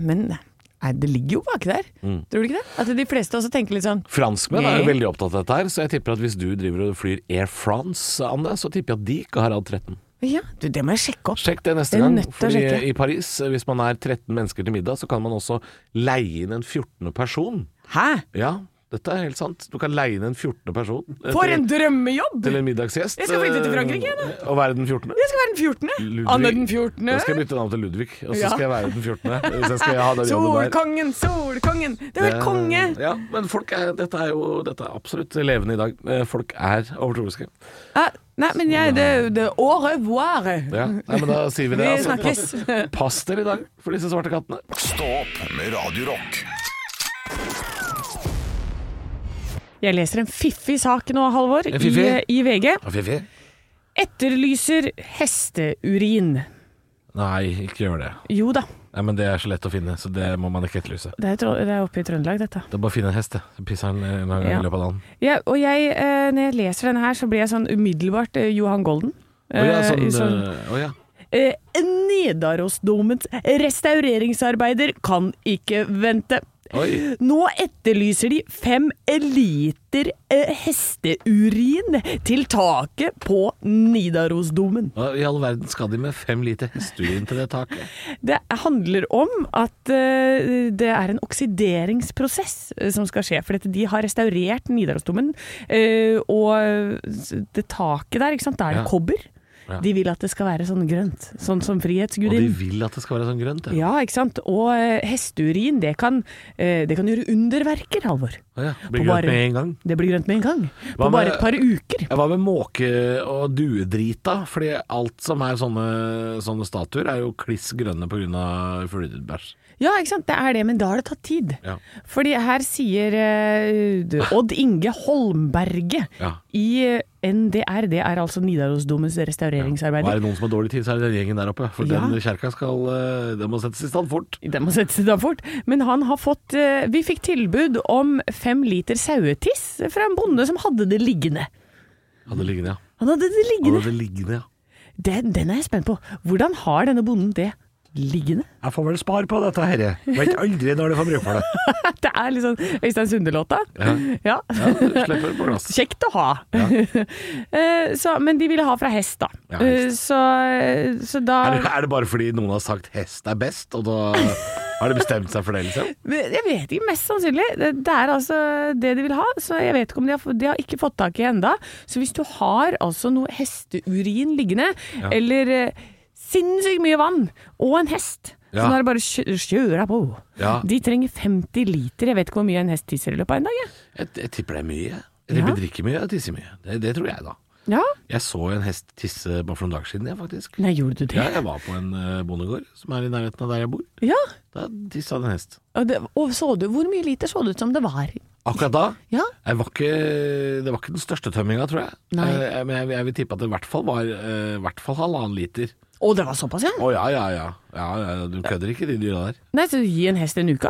Speaker 4: men nei, det ligger jo bak der,
Speaker 3: Mm.
Speaker 4: tror du ikke det? At de fleste også tenker litt sånn
Speaker 3: Franskmenn er jo
Speaker 4: Nei.
Speaker 3: veldig opptatt av dette her, så jeg tipper at hvis du driver og flyr Air France, Anne, så tipper jeg at de ikke har rad 13.
Speaker 4: Ja, du, det må jeg sjekke opp.
Speaker 3: Sjekk det neste
Speaker 4: Det er
Speaker 3: gang.
Speaker 4: nødt til å
Speaker 3: Fordi
Speaker 4: sjekke.
Speaker 3: i Paris, eh, hvis man er 13 mennesker til middag, så kan man også leie inn en 14. person.
Speaker 4: Hæ?
Speaker 3: Ja, dette er helt sant. Du kan leie inn en 14. person. eh,
Speaker 4: For
Speaker 3: til-
Speaker 4: en drømmejobb!
Speaker 3: Til en middagsgjest.
Speaker 4: Jeg skal flytte til
Speaker 3: eh,
Speaker 4: Frankrike, jeg, da.
Speaker 3: Og være den 14.
Speaker 4: Jeg skal være den 14.
Speaker 3: Ludvig.
Speaker 4: Anne den
Speaker 3: Da skal jeg
Speaker 4: 14.
Speaker 3: bytte navn til Ludvig, og så
Speaker 4: Ja.
Speaker 3: skal jeg være den 14. Hvis jeg skal ha
Speaker 4: <laughs>
Speaker 3: den jobben der.
Speaker 4: Solkongen, solkongen! Det er
Speaker 3: Det-
Speaker 4: helt konge!
Speaker 3: Eh, Ja, men folk er, dette er jo dette er absolutt levende i dag. Eh, Folk er overtroiske.
Speaker 4: Ja, nei, men jeg det, det Au revoir!
Speaker 3: Ja. Nei, men da sier vi det.
Speaker 4: Vi
Speaker 3: altså.
Speaker 4: snakkes.
Speaker 3: Pass dere i dag for disse svarte kattene.
Speaker 2: Stå opp med Radio Rock.
Speaker 4: Jeg leser en fiffig sak nå, Halvor,
Speaker 3: En
Speaker 4: i,
Speaker 3: fiffig?
Speaker 4: i VG.
Speaker 3: Fifi?
Speaker 4: Etterlyser hesteurin.
Speaker 3: Nei, ikke gjør det.
Speaker 4: Jo da,
Speaker 3: Nei, men Det er så lett å finne, så det må man ikke etterlyse.
Speaker 4: det er, Trond- det er oppe i Trøndelag, dette.
Speaker 3: Det er bare å finne en hest, det. Så Pisser han en gang
Speaker 4: Ja.
Speaker 3: i løpet av dagen.
Speaker 4: Ja, og jeg, eh, når jeg leser denne her, så blir jeg sånn umiddelbart eh, Johan Golden.
Speaker 3: Å ja,
Speaker 4: Eh, i
Speaker 3: sånn,
Speaker 4: sånn-
Speaker 3: eh, å ja.
Speaker 4: Eh, Nidarosdomens restaureringsarbeider kan ikke vente.
Speaker 3: Oi.
Speaker 4: Nå etterlyser de fem liter eh, hesteurin til taket på Nidarosdomen.
Speaker 3: Hva i all verden skal de med fem liter hesteurin til det taket?
Speaker 4: Det handler om at eh, det er en oksideringsprosess eh, som skal skje. For dette, de har restaurert Nidarosdomen, eh, og s- det taket der, ikke sant, da er det
Speaker 3: Ja.
Speaker 4: kobber.
Speaker 3: Ja.
Speaker 4: De vil at det skal være sånn grønt, sånn som
Speaker 3: Og de
Speaker 4: Frihetsgudinnen.
Speaker 3: vil at det skal være sånn grønt? Ja.
Speaker 4: Ja, ikke sant? Og eh, hesteurin, det kan, eh, det kan gjøre underverker, Halvor.
Speaker 3: Å ja.
Speaker 4: På
Speaker 3: Blir grønt
Speaker 4: bare-
Speaker 3: med en gang?
Speaker 4: Det blir grønt med en gang. På
Speaker 3: Hva med-
Speaker 4: bare et par uker.
Speaker 3: Hva med måke- og duedrit, da? Fordi alt som er sånne, sånne statuer, er jo kliss grønne pga. fuglebæsj.
Speaker 4: Ja, ikke sant? Det er det, men da har det tatt tid.
Speaker 3: Ja.
Speaker 4: Fordi her sier eh, du,
Speaker 3: <laughs>
Speaker 4: Odd Inge Holmberget
Speaker 3: Ja.
Speaker 4: i eh, NDR, det er altså Nidarosdomens
Speaker 3: Og er
Speaker 4: restaureringsarbeider.
Speaker 3: det noen som har dårlig tid, så er det den gjengen der oppe. For
Speaker 4: Ja.
Speaker 3: den kjerka skal eh, Den må settes i stand fort.
Speaker 4: Det må settes i stand fort. Men han har fått eh, Vi fikk tilbud om fem liter sauetiss fra en bonde som hadde det liggende.
Speaker 3: Hadde det liggende, ja.
Speaker 4: Han hadde det
Speaker 3: Hadde
Speaker 4: liggende.
Speaker 3: det liggende, ja.
Speaker 4: Den, den er jeg spent på. Hvordan har denne bonden det liggende? <laughs>
Speaker 3: Jeg får vel spare på dette, herre. Vet aldri når du får bruk for det.
Speaker 4: Det er litt sånn Øystein Sunde-låta. <laughs> Ja.
Speaker 3: Ja, du slipper på glass.
Speaker 4: Kjekt å ha. <laughs> Eh, så, men de ville ha fra hest, da.
Speaker 3: Ja, hest.
Speaker 4: Eh, så, så da
Speaker 3: Er det, er det bare fordi noen har sagt hest er best, og da har de bestemt seg for det, liksom?
Speaker 4: Men Jeg vet ikke, mest sannsynlig. Det, det er altså det de vil ha. Så jeg vet ikke om de har, få- de har ikke fått tak i enda. Så hvis du har altså noe hesteurin liggende, eller eh, sinnssykt mye vann, og en hest,
Speaker 3: Ja.
Speaker 4: så da er det bare å kjø- kjøre på.
Speaker 3: Ja.
Speaker 4: De trenger 50 liter. Jeg vet ikke hvor mye en hest tisser i løpet av en dag. jeg.
Speaker 3: Jeg, jeg tipper det er mye. Jeg tipper
Speaker 4: Ja.
Speaker 3: drikker mye og tisser mye. Det, det tror jeg, da.
Speaker 4: Ja.
Speaker 3: Jeg så en hest tisse bare for noen dager siden, jeg, faktisk.
Speaker 4: Nei, gjorde du det?
Speaker 3: Ja, jeg var på en eh, bondegård som er i nærheten av der jeg bor.
Speaker 4: Ja.
Speaker 3: Da tissa det en hest.
Speaker 4: Og, det, og så du, hvor mye liter så det ut som det var?
Speaker 3: Akkurat da
Speaker 4: Ja.
Speaker 3: jeg var ikke, Det var ikke den største tømminga, tror jeg.
Speaker 4: Nei.
Speaker 3: Eh, men jeg, jeg vil tippe at det i hvert fall var eh, i hvert fall halvannen liter.
Speaker 4: Å, det var såpass, ja?
Speaker 3: Å ja, ja, ja. ja, ja du kødder ikke, de dyra der.
Speaker 4: Nei, så gi en hest en uke?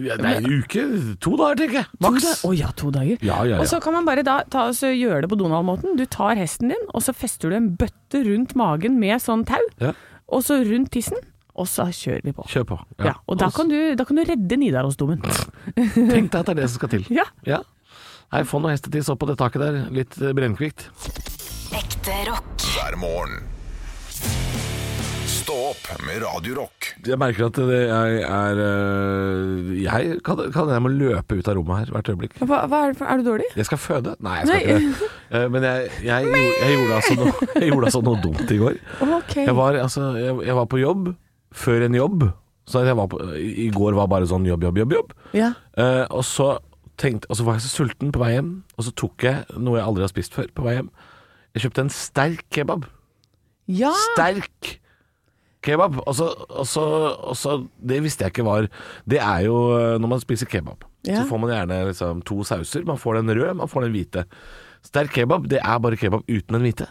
Speaker 3: Ja, Nei, en uke? To dager, tenker jeg. Maks.
Speaker 4: To da- Å ja, to dager.
Speaker 3: Ja, ja, ja.
Speaker 4: Og så kan man bare da ta og så gjøre det på Donald-måten. Du tar hesten din, og så fester du en bøtte rundt magen med sånn tau,
Speaker 3: Ja.
Speaker 4: og så rundt tissen, og så kjører vi på.
Speaker 3: Kjør på.
Speaker 4: Ja, og da kan, du, da kan du redde
Speaker 3: <laughs>
Speaker 4: Nidarosdomen.
Speaker 3: Tenk deg at det er det som skal til.
Speaker 4: Ja.
Speaker 3: ja. Nei, få noe hestetiss opp på det taket der. Litt eh, brennkvikt.
Speaker 1: Ekte rock.
Speaker 2: hver morgen. Stå opp med Radio Rock.
Speaker 3: Jeg merker at det, jeg er øh, Jeg kan, kan jeg må løpe ut av rommet her hvert øyeblikk.
Speaker 4: Hva, hva er, det for, er du dårlig?
Speaker 3: Jeg skal føde. Nei, jeg skal
Speaker 4: Nei.
Speaker 3: ikke det. Eh, Men jeg, jeg, gjorde- jeg, gjorde altså noe, <laughs> jeg gjorde altså noe dumt i går.
Speaker 4: Ok.
Speaker 3: Jeg var, altså, jeg, jeg var på jobb før en jobb. Så jeg var på, I går var bare sånn jobb, jobb, jobb. jobb.
Speaker 4: Ja.
Speaker 3: Eh, og, så tenkte, og så var jeg så sulten på vei hjem, og så tok jeg noe jeg aldri har spist før på vei hjem. Jeg kjøpte en sterk kebab.
Speaker 4: ja.
Speaker 3: Sterk kebab. Og så, og, så, og så Det visste jeg ikke var Det er jo eh, når man spiser kebab.
Speaker 4: Ja.
Speaker 3: Så får man gjerne liksom, to sauser. Man får den røde, man får den hvite. Sterk kebab, det er bare kebab uten den hvite.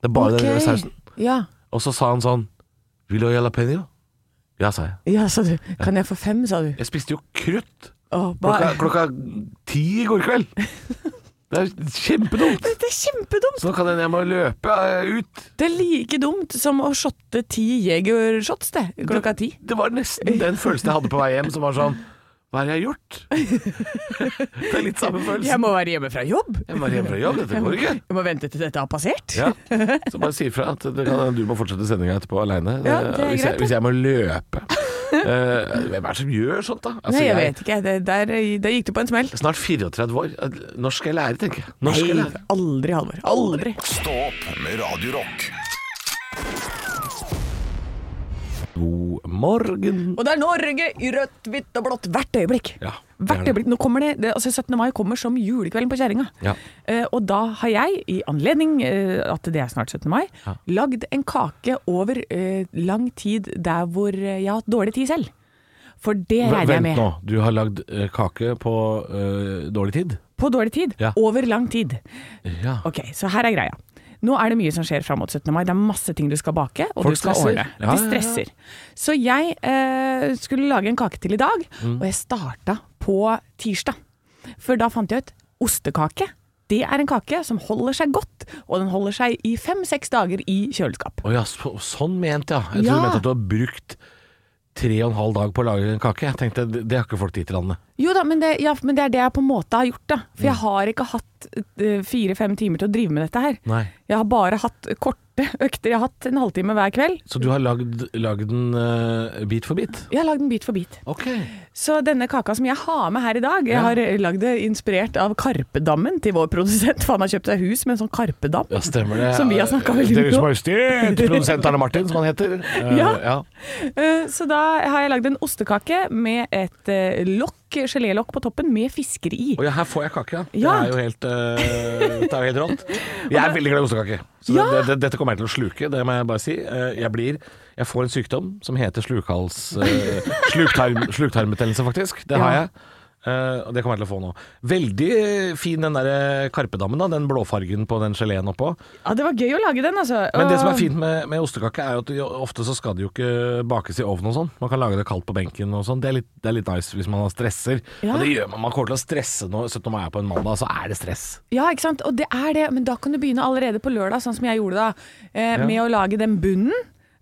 Speaker 3: Det er bare den røde sausen.
Speaker 4: Ja.
Speaker 3: Og så sa han sånn Vil du ha jalapeño? Ja, sa jeg.
Speaker 4: ja, sa du. Kan jeg få fem, sa du.
Speaker 3: Jeg spiste jo krutt
Speaker 4: Å,
Speaker 3: klokka,
Speaker 4: bare-
Speaker 3: klokka ti i går kveld. Det er
Speaker 4: <laughs>
Speaker 3: kjempedumt.
Speaker 4: Det er kjempedumt!
Speaker 3: Så nå kan jeg, jeg må løpe eh, ut.
Speaker 4: Det er like dumt som å shotte ti Jeger-shots, det. Klokka ti.
Speaker 3: Det var nesten den følelsen jeg hadde på vei hjem, som var sånn Hva er det jeg har gjort? Det er litt samme følelsen.
Speaker 4: Jeg må være hjemme fra jobb.
Speaker 3: Jeg må være hjemme fra jobb, dette går ikke.
Speaker 4: Jeg må vente til dette har passert.
Speaker 3: Ja. Så bare si ifra at det kan, du må fortsette sendinga etterpå aleine.
Speaker 4: Ja, det er
Speaker 3: hvis, jeg-
Speaker 4: greit, det.
Speaker 3: hvis jeg må løpe. Eh, hvem er det som gjør sånt, da? Altså,
Speaker 4: Nei, jeg vet ikke. Det, der, der gikk du på en smell.
Speaker 3: Snart 34 år. Eh, Når skal jeg lære, tenker jeg. Når skal jeg
Speaker 4: Nei,
Speaker 3: lære?
Speaker 4: aldri, Halvor. Aldri.
Speaker 2: Stå opp med Radio Rock.
Speaker 3: God morgen.
Speaker 4: Og det er Norge i rødt, hvitt og blått hvert øyeblikk.
Speaker 3: Ja, det er
Speaker 4: hvert
Speaker 3: det.
Speaker 4: øyeblikk. Nå kommer det, det altså 17. mai kommer som julekvelden på kjerringa.
Speaker 3: Ja.
Speaker 4: Eh, og da har jeg, i anledning eh, at det er snart 17. mai, lagd en kake over eh, lang tid der hvor eh, jeg har hatt dårlig tid selv. For det regner jeg
Speaker 3: Vent
Speaker 4: med.
Speaker 3: nå, du har lagd eh, kake på eh, dårlig tid?
Speaker 4: På dårlig tid.
Speaker 3: Ja.
Speaker 4: Over lang tid.
Speaker 3: Ja.
Speaker 4: Ok, så her er greia. Nå er det mye som skjer fram mot 17. mai. Det er masse ting du skal bake, og
Speaker 3: Folk
Speaker 4: du skal
Speaker 3: stresser.
Speaker 4: ordne.
Speaker 3: Ja, ja, ja.
Speaker 4: De stresser. Så jeg eh, skulle lage en kake til i dag,
Speaker 3: Mm.
Speaker 4: og jeg starta på tirsdag. For da fant jeg ut ostekake. Det er en kake som holder seg godt, og den holder seg i fem-seks dager i kjøleskap.
Speaker 3: Å ja, så, sånn ment, ja. Jeg trodde
Speaker 4: Ja.
Speaker 3: du mente at du har brukt tre og en halv dag på å lage en kake. Jeg tenkte, Det, det har ikke folk tid til, Anne.
Speaker 4: Jo da, men det, ja, men det er det jeg på en måte har gjort, da. For
Speaker 3: Mm.
Speaker 4: jeg har ikke hatt eh, fire-fem timer til å drive med dette her.
Speaker 3: Nei.
Speaker 4: Jeg har bare hatt korte økter. Jeg har hatt en halvtime hver kveld.
Speaker 3: Så du har lagd, lagd den eh, bit for bit?
Speaker 4: Jeg har lagd den bit for bit.
Speaker 3: Ok.
Speaker 4: Så denne kaka som jeg har med her i dag, jeg
Speaker 3: Ja.
Speaker 4: har eh, lagd det inspirert av Karpedammen til vår produsent, for han har kjøpt seg hus med en sånn karpedam.
Speaker 3: Ja, stemmer det. Eh,
Speaker 4: Som vi har snakka veldig
Speaker 3: Deres
Speaker 4: mye om.
Speaker 3: Majestet, produsent Arne Martin, som han heter. Eh,
Speaker 4: <laughs> Ja.
Speaker 3: ja.
Speaker 4: Eh, Så da har jeg lagd en ostekake med et eh, lokk, gelélokk på toppen med fisker i.
Speaker 3: Og ja, her får jeg kake, ja.
Speaker 4: Ja.
Speaker 3: Det er jo helt, eh, det er jo helt
Speaker 4: <laughs>
Speaker 3: rått. Jeg er veldig glad i ostekake. Så
Speaker 4: Ja.
Speaker 3: det, det, dette kommer jeg til å sluke, det må jeg bare si. Eh, Jeg blir Jeg får en sykdom som heter slukhals...
Speaker 4: <laughs>
Speaker 3: eh, sluktarm, sluktarmbetennelse, faktisk. Det har
Speaker 4: Ja.
Speaker 3: jeg. Eh, og det kommer jeg til å få nå. Veldig fin den der karpedammen, da. Den blåfargen på den geleen oppå.
Speaker 4: Ja, det var gøy å lage den, altså.
Speaker 3: Men det som
Speaker 4: Og-
Speaker 3: er fint med, med ostekake, er jo at jo- ofte så skal det jo ikke bakes i ovnen og sånn. Man kan lage det kaldt på benken og sånn. Det, er litt- det er litt nice hvis man har stresser.
Speaker 4: Ja.
Speaker 3: Og det gjør man. Man kommer til å stresse nå. 17. mai er på en mandag, så er det stress.
Speaker 4: Ja, ikke sant? Og det er det, men da kan du begynne allerede på lørdag, sånn som jeg gjorde da, eh, med å lage den bunnen.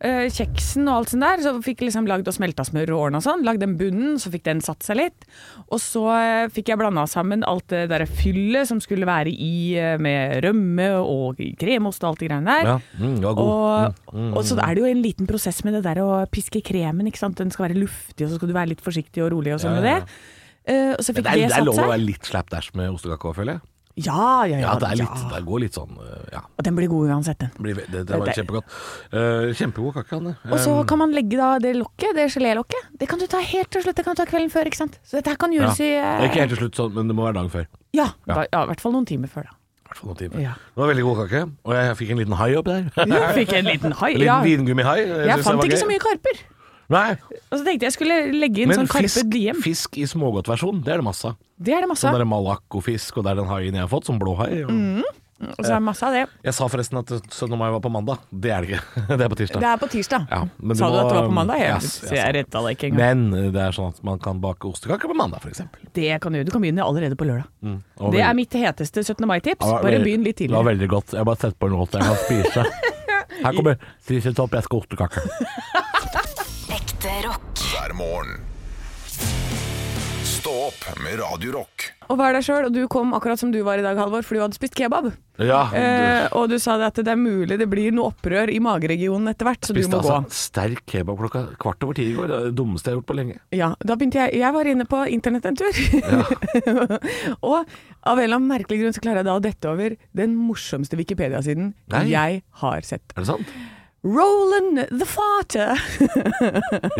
Speaker 4: eh, Kjeksen og alt sånt der. Så fikk jeg liksom lagd og smelta smør og ordna sånn. Lagd den bunnen, så fikk den satt seg litt. Og så eh, fikk jeg blanda sammen alt det derre fyllet som skulle være i eh, med rømme og kremost og alt det greiene der.
Speaker 3: Ja, mm, det var god. Mm.
Speaker 4: Og, og så er det jo en liten prosess med det der å piske kremen, ikke sant. Den skal være luftig, og så skal du være litt forsiktig og rolig og sånn
Speaker 3: Ja,
Speaker 4: med
Speaker 3: ja, ja.
Speaker 4: det. Eh, og så
Speaker 3: Men
Speaker 4: fikk
Speaker 3: det, er,
Speaker 4: det,
Speaker 3: det er
Speaker 4: satt
Speaker 3: lov å
Speaker 4: seg.
Speaker 3: være litt slapdash med ostekake òg, føler jeg.
Speaker 4: Ja, ja, ja.
Speaker 3: Ja, det, er litt,
Speaker 4: ja.
Speaker 3: det går litt sånn eh, Ja.
Speaker 4: Og den blir god uansett, den.
Speaker 3: Det, blir, ve- det, det var
Speaker 4: Det er
Speaker 3: kjempegodt. Eh, kjempegod kake, Anne.
Speaker 4: Og så
Speaker 3: Eh,
Speaker 4: kan man legge da det lokket, det gelélokket. Det kan du ta helt til slutt, det kan du ta kvelden før, ikke sant. Så dette her kan
Speaker 3: ja.
Speaker 4: gjøres
Speaker 3: Det er
Speaker 4: i eh,
Speaker 3: Ikke helt til slutt, sånn, men det må være dagen før.
Speaker 4: ja, da, ja, i hvert fall noen timer
Speaker 3: <laughs>
Speaker 4: før, da.
Speaker 3: I hvert fall noen timer.
Speaker 4: Ja.
Speaker 3: Det var veldig god kake, og jeg fikk en liten hai opp der. <laughs> En
Speaker 4: Jeg fikk en liten hai.
Speaker 3: liten eh,
Speaker 4: Ja.
Speaker 3: vingummihai.
Speaker 4: Jeg fant ikke så mye karper.
Speaker 3: Nei,
Speaker 4: Og så tenkte jeg skulle legge inn
Speaker 3: Men
Speaker 4: sånn karpe
Speaker 3: fisk,
Speaker 4: diem.
Speaker 3: fisk i smågodtversjon, det er det masse av.
Speaker 4: Det er det masse
Speaker 3: Sånn
Speaker 4: av.
Speaker 3: der malakkofisk, og det er den haien jeg har fått, som blå hai. og-
Speaker 4: Mm. Og
Speaker 3: eh,
Speaker 4: så er det masse av det.
Speaker 3: Jeg sa forresten at 17. mai var på mandag. Det er det ikke. <laughs> Det er på tirsdag.
Speaker 4: Det er på tirsdag.
Speaker 3: Ja, men du
Speaker 4: Sa du
Speaker 3: må-
Speaker 4: at det var på mandag?
Speaker 3: Ja,
Speaker 4: Jeg,
Speaker 3: s-
Speaker 4: så jeg retta deg ikke engang.
Speaker 3: Men det er sånn at man kan bake ostekake på mandag, f.eks.
Speaker 4: Det kan du gjøre. Du kan begynne allerede på lørdag.
Speaker 3: Mm,
Speaker 4: Det er mitt heteste 17. mai-tips. Bare begynn litt
Speaker 3: Det var
Speaker 4: tidligere.
Speaker 3: veldig godt. Jeg bare setter på en låt jeg kan
Speaker 4: <laughs>
Speaker 3: spise. Her kommer Strise Topp, jeg skal ha ostekake.
Speaker 1: Ekte rock.
Speaker 2: hver morgen. Stå opp med Radio Rock.
Speaker 4: og vær deg sjøl. Og du kom akkurat som du var i dag, Halvor, for du hadde spist kebab.
Speaker 3: Ja,
Speaker 4: Eh, og du sa det at det er mulig det blir noe opprør i mageregionen etter hvert, så du
Speaker 3: spiste
Speaker 4: må gå.
Speaker 3: altså sterk kebab klokka kvart over ti i går. Det er det dummeste jeg har gjort på lenge.
Speaker 4: Ja, da begynte jeg Jeg var inne på internett en tur. <laughs> og av en eller annen merkelig grunn så klarer jeg da å dette over den morsomste Wikipedia-siden
Speaker 3: Nei.
Speaker 4: jeg har sett.
Speaker 3: Er det
Speaker 4: <laughs>
Speaker 3: sant?
Speaker 4: Roland the Fate.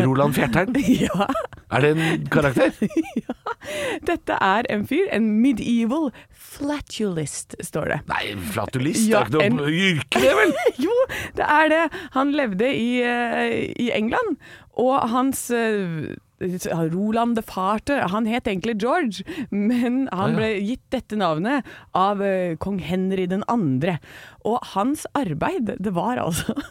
Speaker 3: Roland Fjertern.
Speaker 4: <laughs> ja.
Speaker 3: Er det en karakter?
Speaker 4: Dette er en fyr, en medieval flatulist, står det.
Speaker 3: Nei, flatulist.
Speaker 4: Ja,
Speaker 3: det er ikke noe yrke, det vel?
Speaker 4: <laughs> jo, det er det. Han levde i, eh, i England, og hans eh, Roland de Farte, han het egentlig George, men han
Speaker 3: Ah, ja.
Speaker 4: ble gitt dette navnet av eh, kong Henry den andre. Og hans arbeid, det var altså <laughs>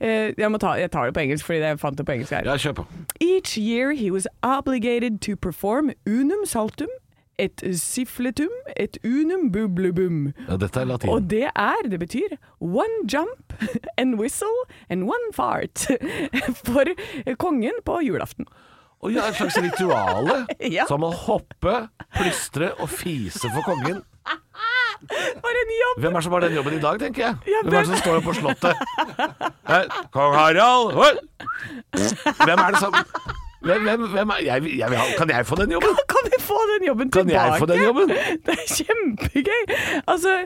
Speaker 4: Eh, jeg, må ta, jeg tar det på engelsk, fordi jeg fant det på engelsk her.
Speaker 3: Ja, kjør på.
Speaker 4: Each year he was obligated to perform unum saltum, et siffletum, et unum bublebum.
Speaker 3: Ja, dette er latin.
Speaker 4: Og det er, det betyr one jump <laughs> and whistle and one fart <laughs> for kongen på julaften.
Speaker 3: Å ja, et slags rituale.
Speaker 4: <laughs> Ja.
Speaker 3: Så han må hoppe, plystre og fise for kongen.
Speaker 4: For en jobb!
Speaker 3: Hvem er det som har den jobben i dag, tenker jeg?
Speaker 4: Ja,
Speaker 3: Hvem er det
Speaker 4: hvem-
Speaker 3: som står på slottet? Hæ? Kong Harald! Oi! Hvem er det som Hvem, hvem, hvem er jeg, jeg, vil ha- Kan jeg få den jobben?
Speaker 4: <laughs> Kan vi få den jobben
Speaker 3: Kan
Speaker 4: tilbake?
Speaker 3: jeg få den jobben?
Speaker 4: <laughs> Det er kjempegøy! Altså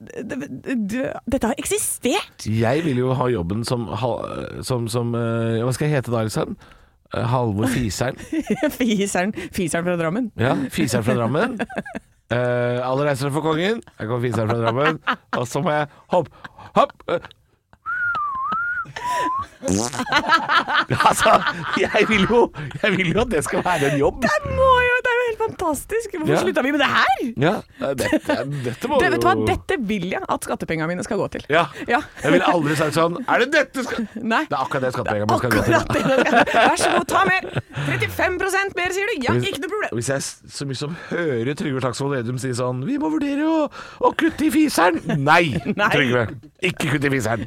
Speaker 4: det, det, det, Dette har eksistert! <laughs>
Speaker 3: Jeg vil jo ha jobben som, hal- som, som eh, Hva skal jeg hete da, liksom? Eh, Halvor Fiseren.
Speaker 4: Fiseren, fiseren fra Drammen.
Speaker 3: Ja, Fiseren fra Drammen. Eh, alle reiser for kongen. Jeg kommer Fiseren fra Drammen. Og så må jeg hopp, hopp eh. Altså, jeg vil, jo, jeg vil jo at det skal være en jobb.
Speaker 4: Det må jo, det er jo helt fantastisk! Hvorfor
Speaker 3: Ja.
Speaker 4: slutta vi med det her?
Speaker 3: Ja, dette, Eh, dette må
Speaker 4: Det, vet du hva,
Speaker 3: jo-
Speaker 4: dette vil jeg at skattepengene mine skal gå til.
Speaker 3: Ja.
Speaker 4: Ja.
Speaker 3: Jeg ville aldri sagt sånn Er det dette skal
Speaker 4: <laughs> Nei.
Speaker 3: Det er akkurat det skattepengene mine skal gå til.
Speaker 4: Akkurat det! det skal- Vær så god, ta mer! 35 mer, sier du? Ja,
Speaker 3: Hvis-
Speaker 4: ikke noe problem.
Speaker 3: Hvis jeg s- så mye som hører Trygve Slagsvold Vedum si sånn Vi må vurdere å, å kutte i fiseren. Nei,
Speaker 4: Nei.
Speaker 3: Trygve. Ikke kutt i fiseren.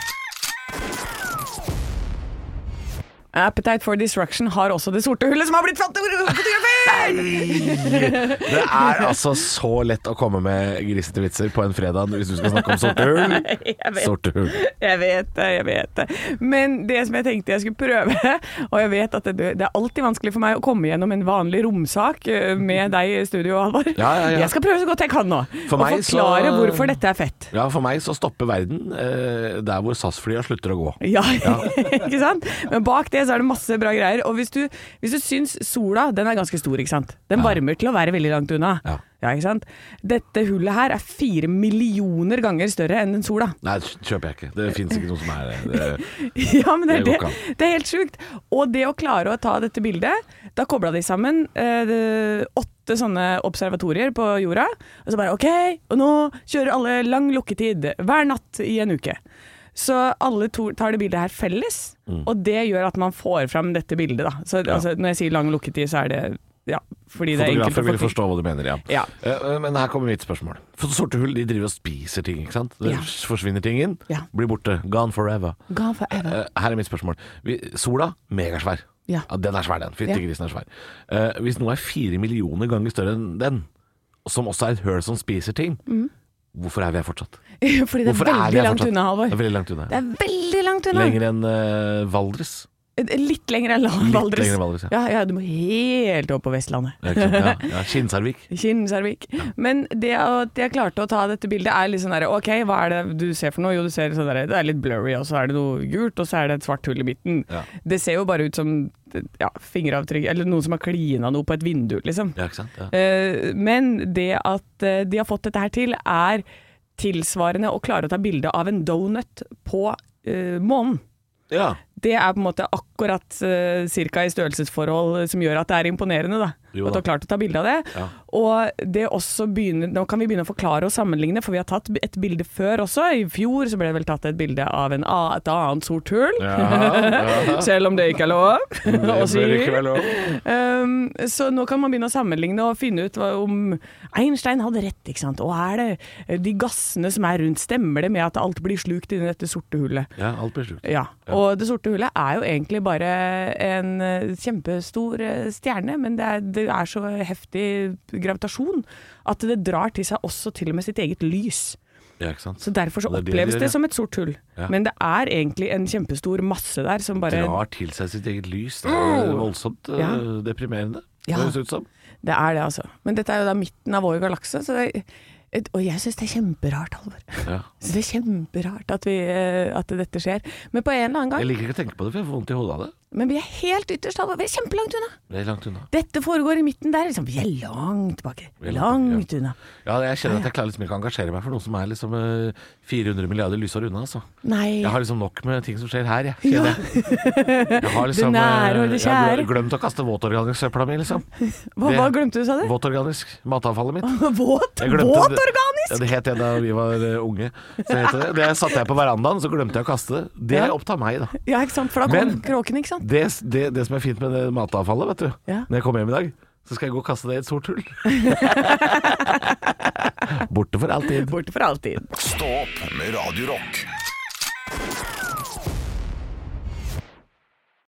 Speaker 4: Appetite for Destruction har også det sorte hullet som har blitt fått <laughs>
Speaker 3: Det er altså så lett å komme med grisete vitser på en fredag hvis du skal snakke om sorte
Speaker 4: <laughs>
Speaker 3: hull.
Speaker 4: Jeg vet,
Speaker 3: Sorte hull.
Speaker 4: jeg vet det, jeg vet det. Men det som jeg tenkte jeg skulle prøve, <laughs> og jeg vet at det, det er alltid vanskelig for meg å komme gjennom en vanlig romsak eh, med deg i studio, Halvor.
Speaker 3: Ja, ja, ja.
Speaker 4: Jeg skal prøve så godt jeg kan nå,
Speaker 3: For
Speaker 4: og
Speaker 3: meg så-
Speaker 4: forklare hvorfor dette er fett.
Speaker 3: Ja, for meg så stopper verden eh, der hvor SAS-flya slutter å gå.
Speaker 4: Ja, <laughs> ikke sant? Men bak det så er det masse bra greier. Og hvis du, hvis du syns sola, den er ganske stor, ikke sant? Den varmer til å være veldig langt unna.
Speaker 3: Ja.
Speaker 4: ikke sant? Dette hullet her er fire millioner ganger større enn den sola.
Speaker 3: Nei, kjøper jeg ikke. Det fins ikke noe som er eh,
Speaker 4: <laughs>
Speaker 3: det.
Speaker 4: Ja, men det er,
Speaker 3: Det
Speaker 4: det,
Speaker 3: går ikke
Speaker 4: det er helt sjukt. Og det å klare å ta dette bildet Da kobla de sammen eh, det- åtte sånne observatorier på jorda. Og så bare OK, og nå kjører alle lang lukketid hver natt i en uke. Så alle to tar det bildet her felles, og det gjør at man får fram dette bildet. Da. Så
Speaker 3: Mm. Ja.
Speaker 4: altså, når jeg sier lang lukketid, så er det ja, fordi det er enkelt
Speaker 3: Fotografer
Speaker 4: å
Speaker 3: vil
Speaker 4: få til.
Speaker 3: forstå hva du mener, ja.
Speaker 4: Ja.
Speaker 3: Eh, eh, Men her kommer mitt spørsmål. For sorte hull de driver og spiser ting, ikke sant? Det
Speaker 4: Ja.
Speaker 3: forsvinner ting inn,
Speaker 4: Ja.
Speaker 3: blir borte. Gone forever.
Speaker 4: Gone forever.
Speaker 3: Eh, Her er mitt spørsmål. Vi, sola, megasvær.
Speaker 4: Ja.
Speaker 3: den er svær, den. Fytti
Speaker 4: Ja.
Speaker 3: grisen er svær. Eh, hvis noe er fire millioner ganger større enn den, som også er et høl som spiser ting, hvorfor er vi her fortsatt?
Speaker 4: <laughs> Fordi Mm. det er
Speaker 3: Hvorfor vi
Speaker 4: veldig
Speaker 3: her
Speaker 4: langt
Speaker 3: fortsatt?
Speaker 4: unna,
Speaker 3: Det
Speaker 4: Halvor.
Speaker 3: er veldig langt unna.
Speaker 4: Det er veldig langt unna. Eh,
Speaker 3: Lenger enn eh, Valdres.
Speaker 4: Litt lenger enn
Speaker 3: Litt
Speaker 4: <laughs> Valdres.
Speaker 3: lenger enn Valdres, ja.
Speaker 4: ja, ja, du må helt opp på Vestlandet.
Speaker 3: Ja, ikke sant? Ja, ja, Kinsarvik.
Speaker 4: Kinnsarvik. Men det at jeg klarte å ta dette bildet, er litt sånn derre OK, hva er det du ser for noe? Jo, du ser sånn derre Det er litt blurry, og så er det noe gult, og så er det et svart hull i midten.
Speaker 3: Ja.
Speaker 4: Det ser jo bare ut som ja, fingeravtrykk Eller noen som har klina noe på et vindu, liksom.
Speaker 3: Ja, ikke sant? Ja.
Speaker 4: Eh, Men det at eh, de har fått dette her til, er tilsvarende å klare å ta bilde av en donut på eh, månen. <laughs>
Speaker 3: ja.
Speaker 4: Det er på en måte akkurat uh, cirka i størrelsesforhold som gjør at det er imponerende. da.
Speaker 3: Jo
Speaker 4: At du
Speaker 3: da.
Speaker 4: har klart å ta bilde av det.
Speaker 3: Ja.
Speaker 4: Og det også begynner, Nå kan vi begynne å forklare og sammenligne, for vi har tatt et bilde før også. I fjor så ble det vel tatt et bilde av en, a- et annet sort hull. <laughs> Selv om det ikke er
Speaker 3: <laughs>
Speaker 4: lov å si. Um, så nå kan man begynne å sammenligne og finne ut hva, om Einstein hadde rett. ikke sant? Og er det de gassene som er rundt, stemmer det med at alt blir slukt inni dette sorte hullet?
Speaker 3: ja, alt blir slukt.
Speaker 4: Ja, og det sorte hule er jo egentlig bare en eh, kjempestor eh, stjerne, men det er, det er så heftig gravitasjon at det drar til seg også til og med sitt eget lys.
Speaker 3: Ja, ikke sant?
Speaker 4: Så derfor så
Speaker 3: Og det er det de
Speaker 4: oppleves
Speaker 3: gjør,
Speaker 4: det
Speaker 3: ja.
Speaker 4: som et sort hull.
Speaker 3: Ja.
Speaker 4: Men det er egentlig en kjempestor masse der som bare Mm.
Speaker 3: Drar til seg sitt eget lys. Det er jo voldsomt eh,
Speaker 4: Ja.
Speaker 3: deprimerende,
Speaker 4: Ja.
Speaker 3: høres ut som.
Speaker 4: Det er det, altså. Men dette er jo da midten av vår galakse, så det et- og jeg syns det er kjemperart, Halvor.
Speaker 3: Ja.
Speaker 4: Så det er kjemperart at, vi, eh, at dette skjer. Men på en eller annen gang
Speaker 3: Jeg liker ikke å tenke på det, for jeg får vondt i hodet av det.
Speaker 4: Men vi er helt ytterst, Halvor. Vi er kjempelangt unna.
Speaker 3: Det er langt unna.
Speaker 4: Dette foregår i midten der. Liksom. Vi er langt baki.
Speaker 3: Vi er langt
Speaker 4: Langt unna.
Speaker 3: Ja, jeg kjenner at jeg klarer liksom ikke å engasjere meg for noe som er liksom eh, 400 milliarder lysår unna, altså.
Speaker 4: Nei.
Speaker 3: Jeg har liksom nok med ting som skjer her, jeg. Kjenner jeg. jeg
Speaker 4: <laughs>
Speaker 3: har liksom,
Speaker 4: Det nære og det
Speaker 3: eh, jeg har
Speaker 4: kjære.
Speaker 3: glemt å kaste våtorganisk søpla mi, liksom.
Speaker 4: Hva,
Speaker 3: det-
Speaker 4: hva glemte du, sa du?
Speaker 3: Våtorganisk. Matavfallet mitt.
Speaker 4: <laughs> Våt?
Speaker 3: Jeg glemte det-
Speaker 4: Våtorganisk?
Speaker 3: Ja, det het det da vi var eh, unge. Så het det. det satte jeg på verandaen, så glemte jeg å kaste det. Det
Speaker 4: Ja.
Speaker 3: opptar meg, da.
Speaker 4: Ja, ikke sant? For da kom
Speaker 3: Men-
Speaker 4: kråken, ikke sant?
Speaker 3: Det, det, det som er fint med det matavfallet, vet du
Speaker 4: Ja.
Speaker 3: Når jeg kommer hjem i dag, så skal jeg gå og kaste det i et sort
Speaker 4: <laughs>
Speaker 3: hull. Borte for alltid.
Speaker 4: Borte for alltid.
Speaker 2: Stå opp med Radio Rock.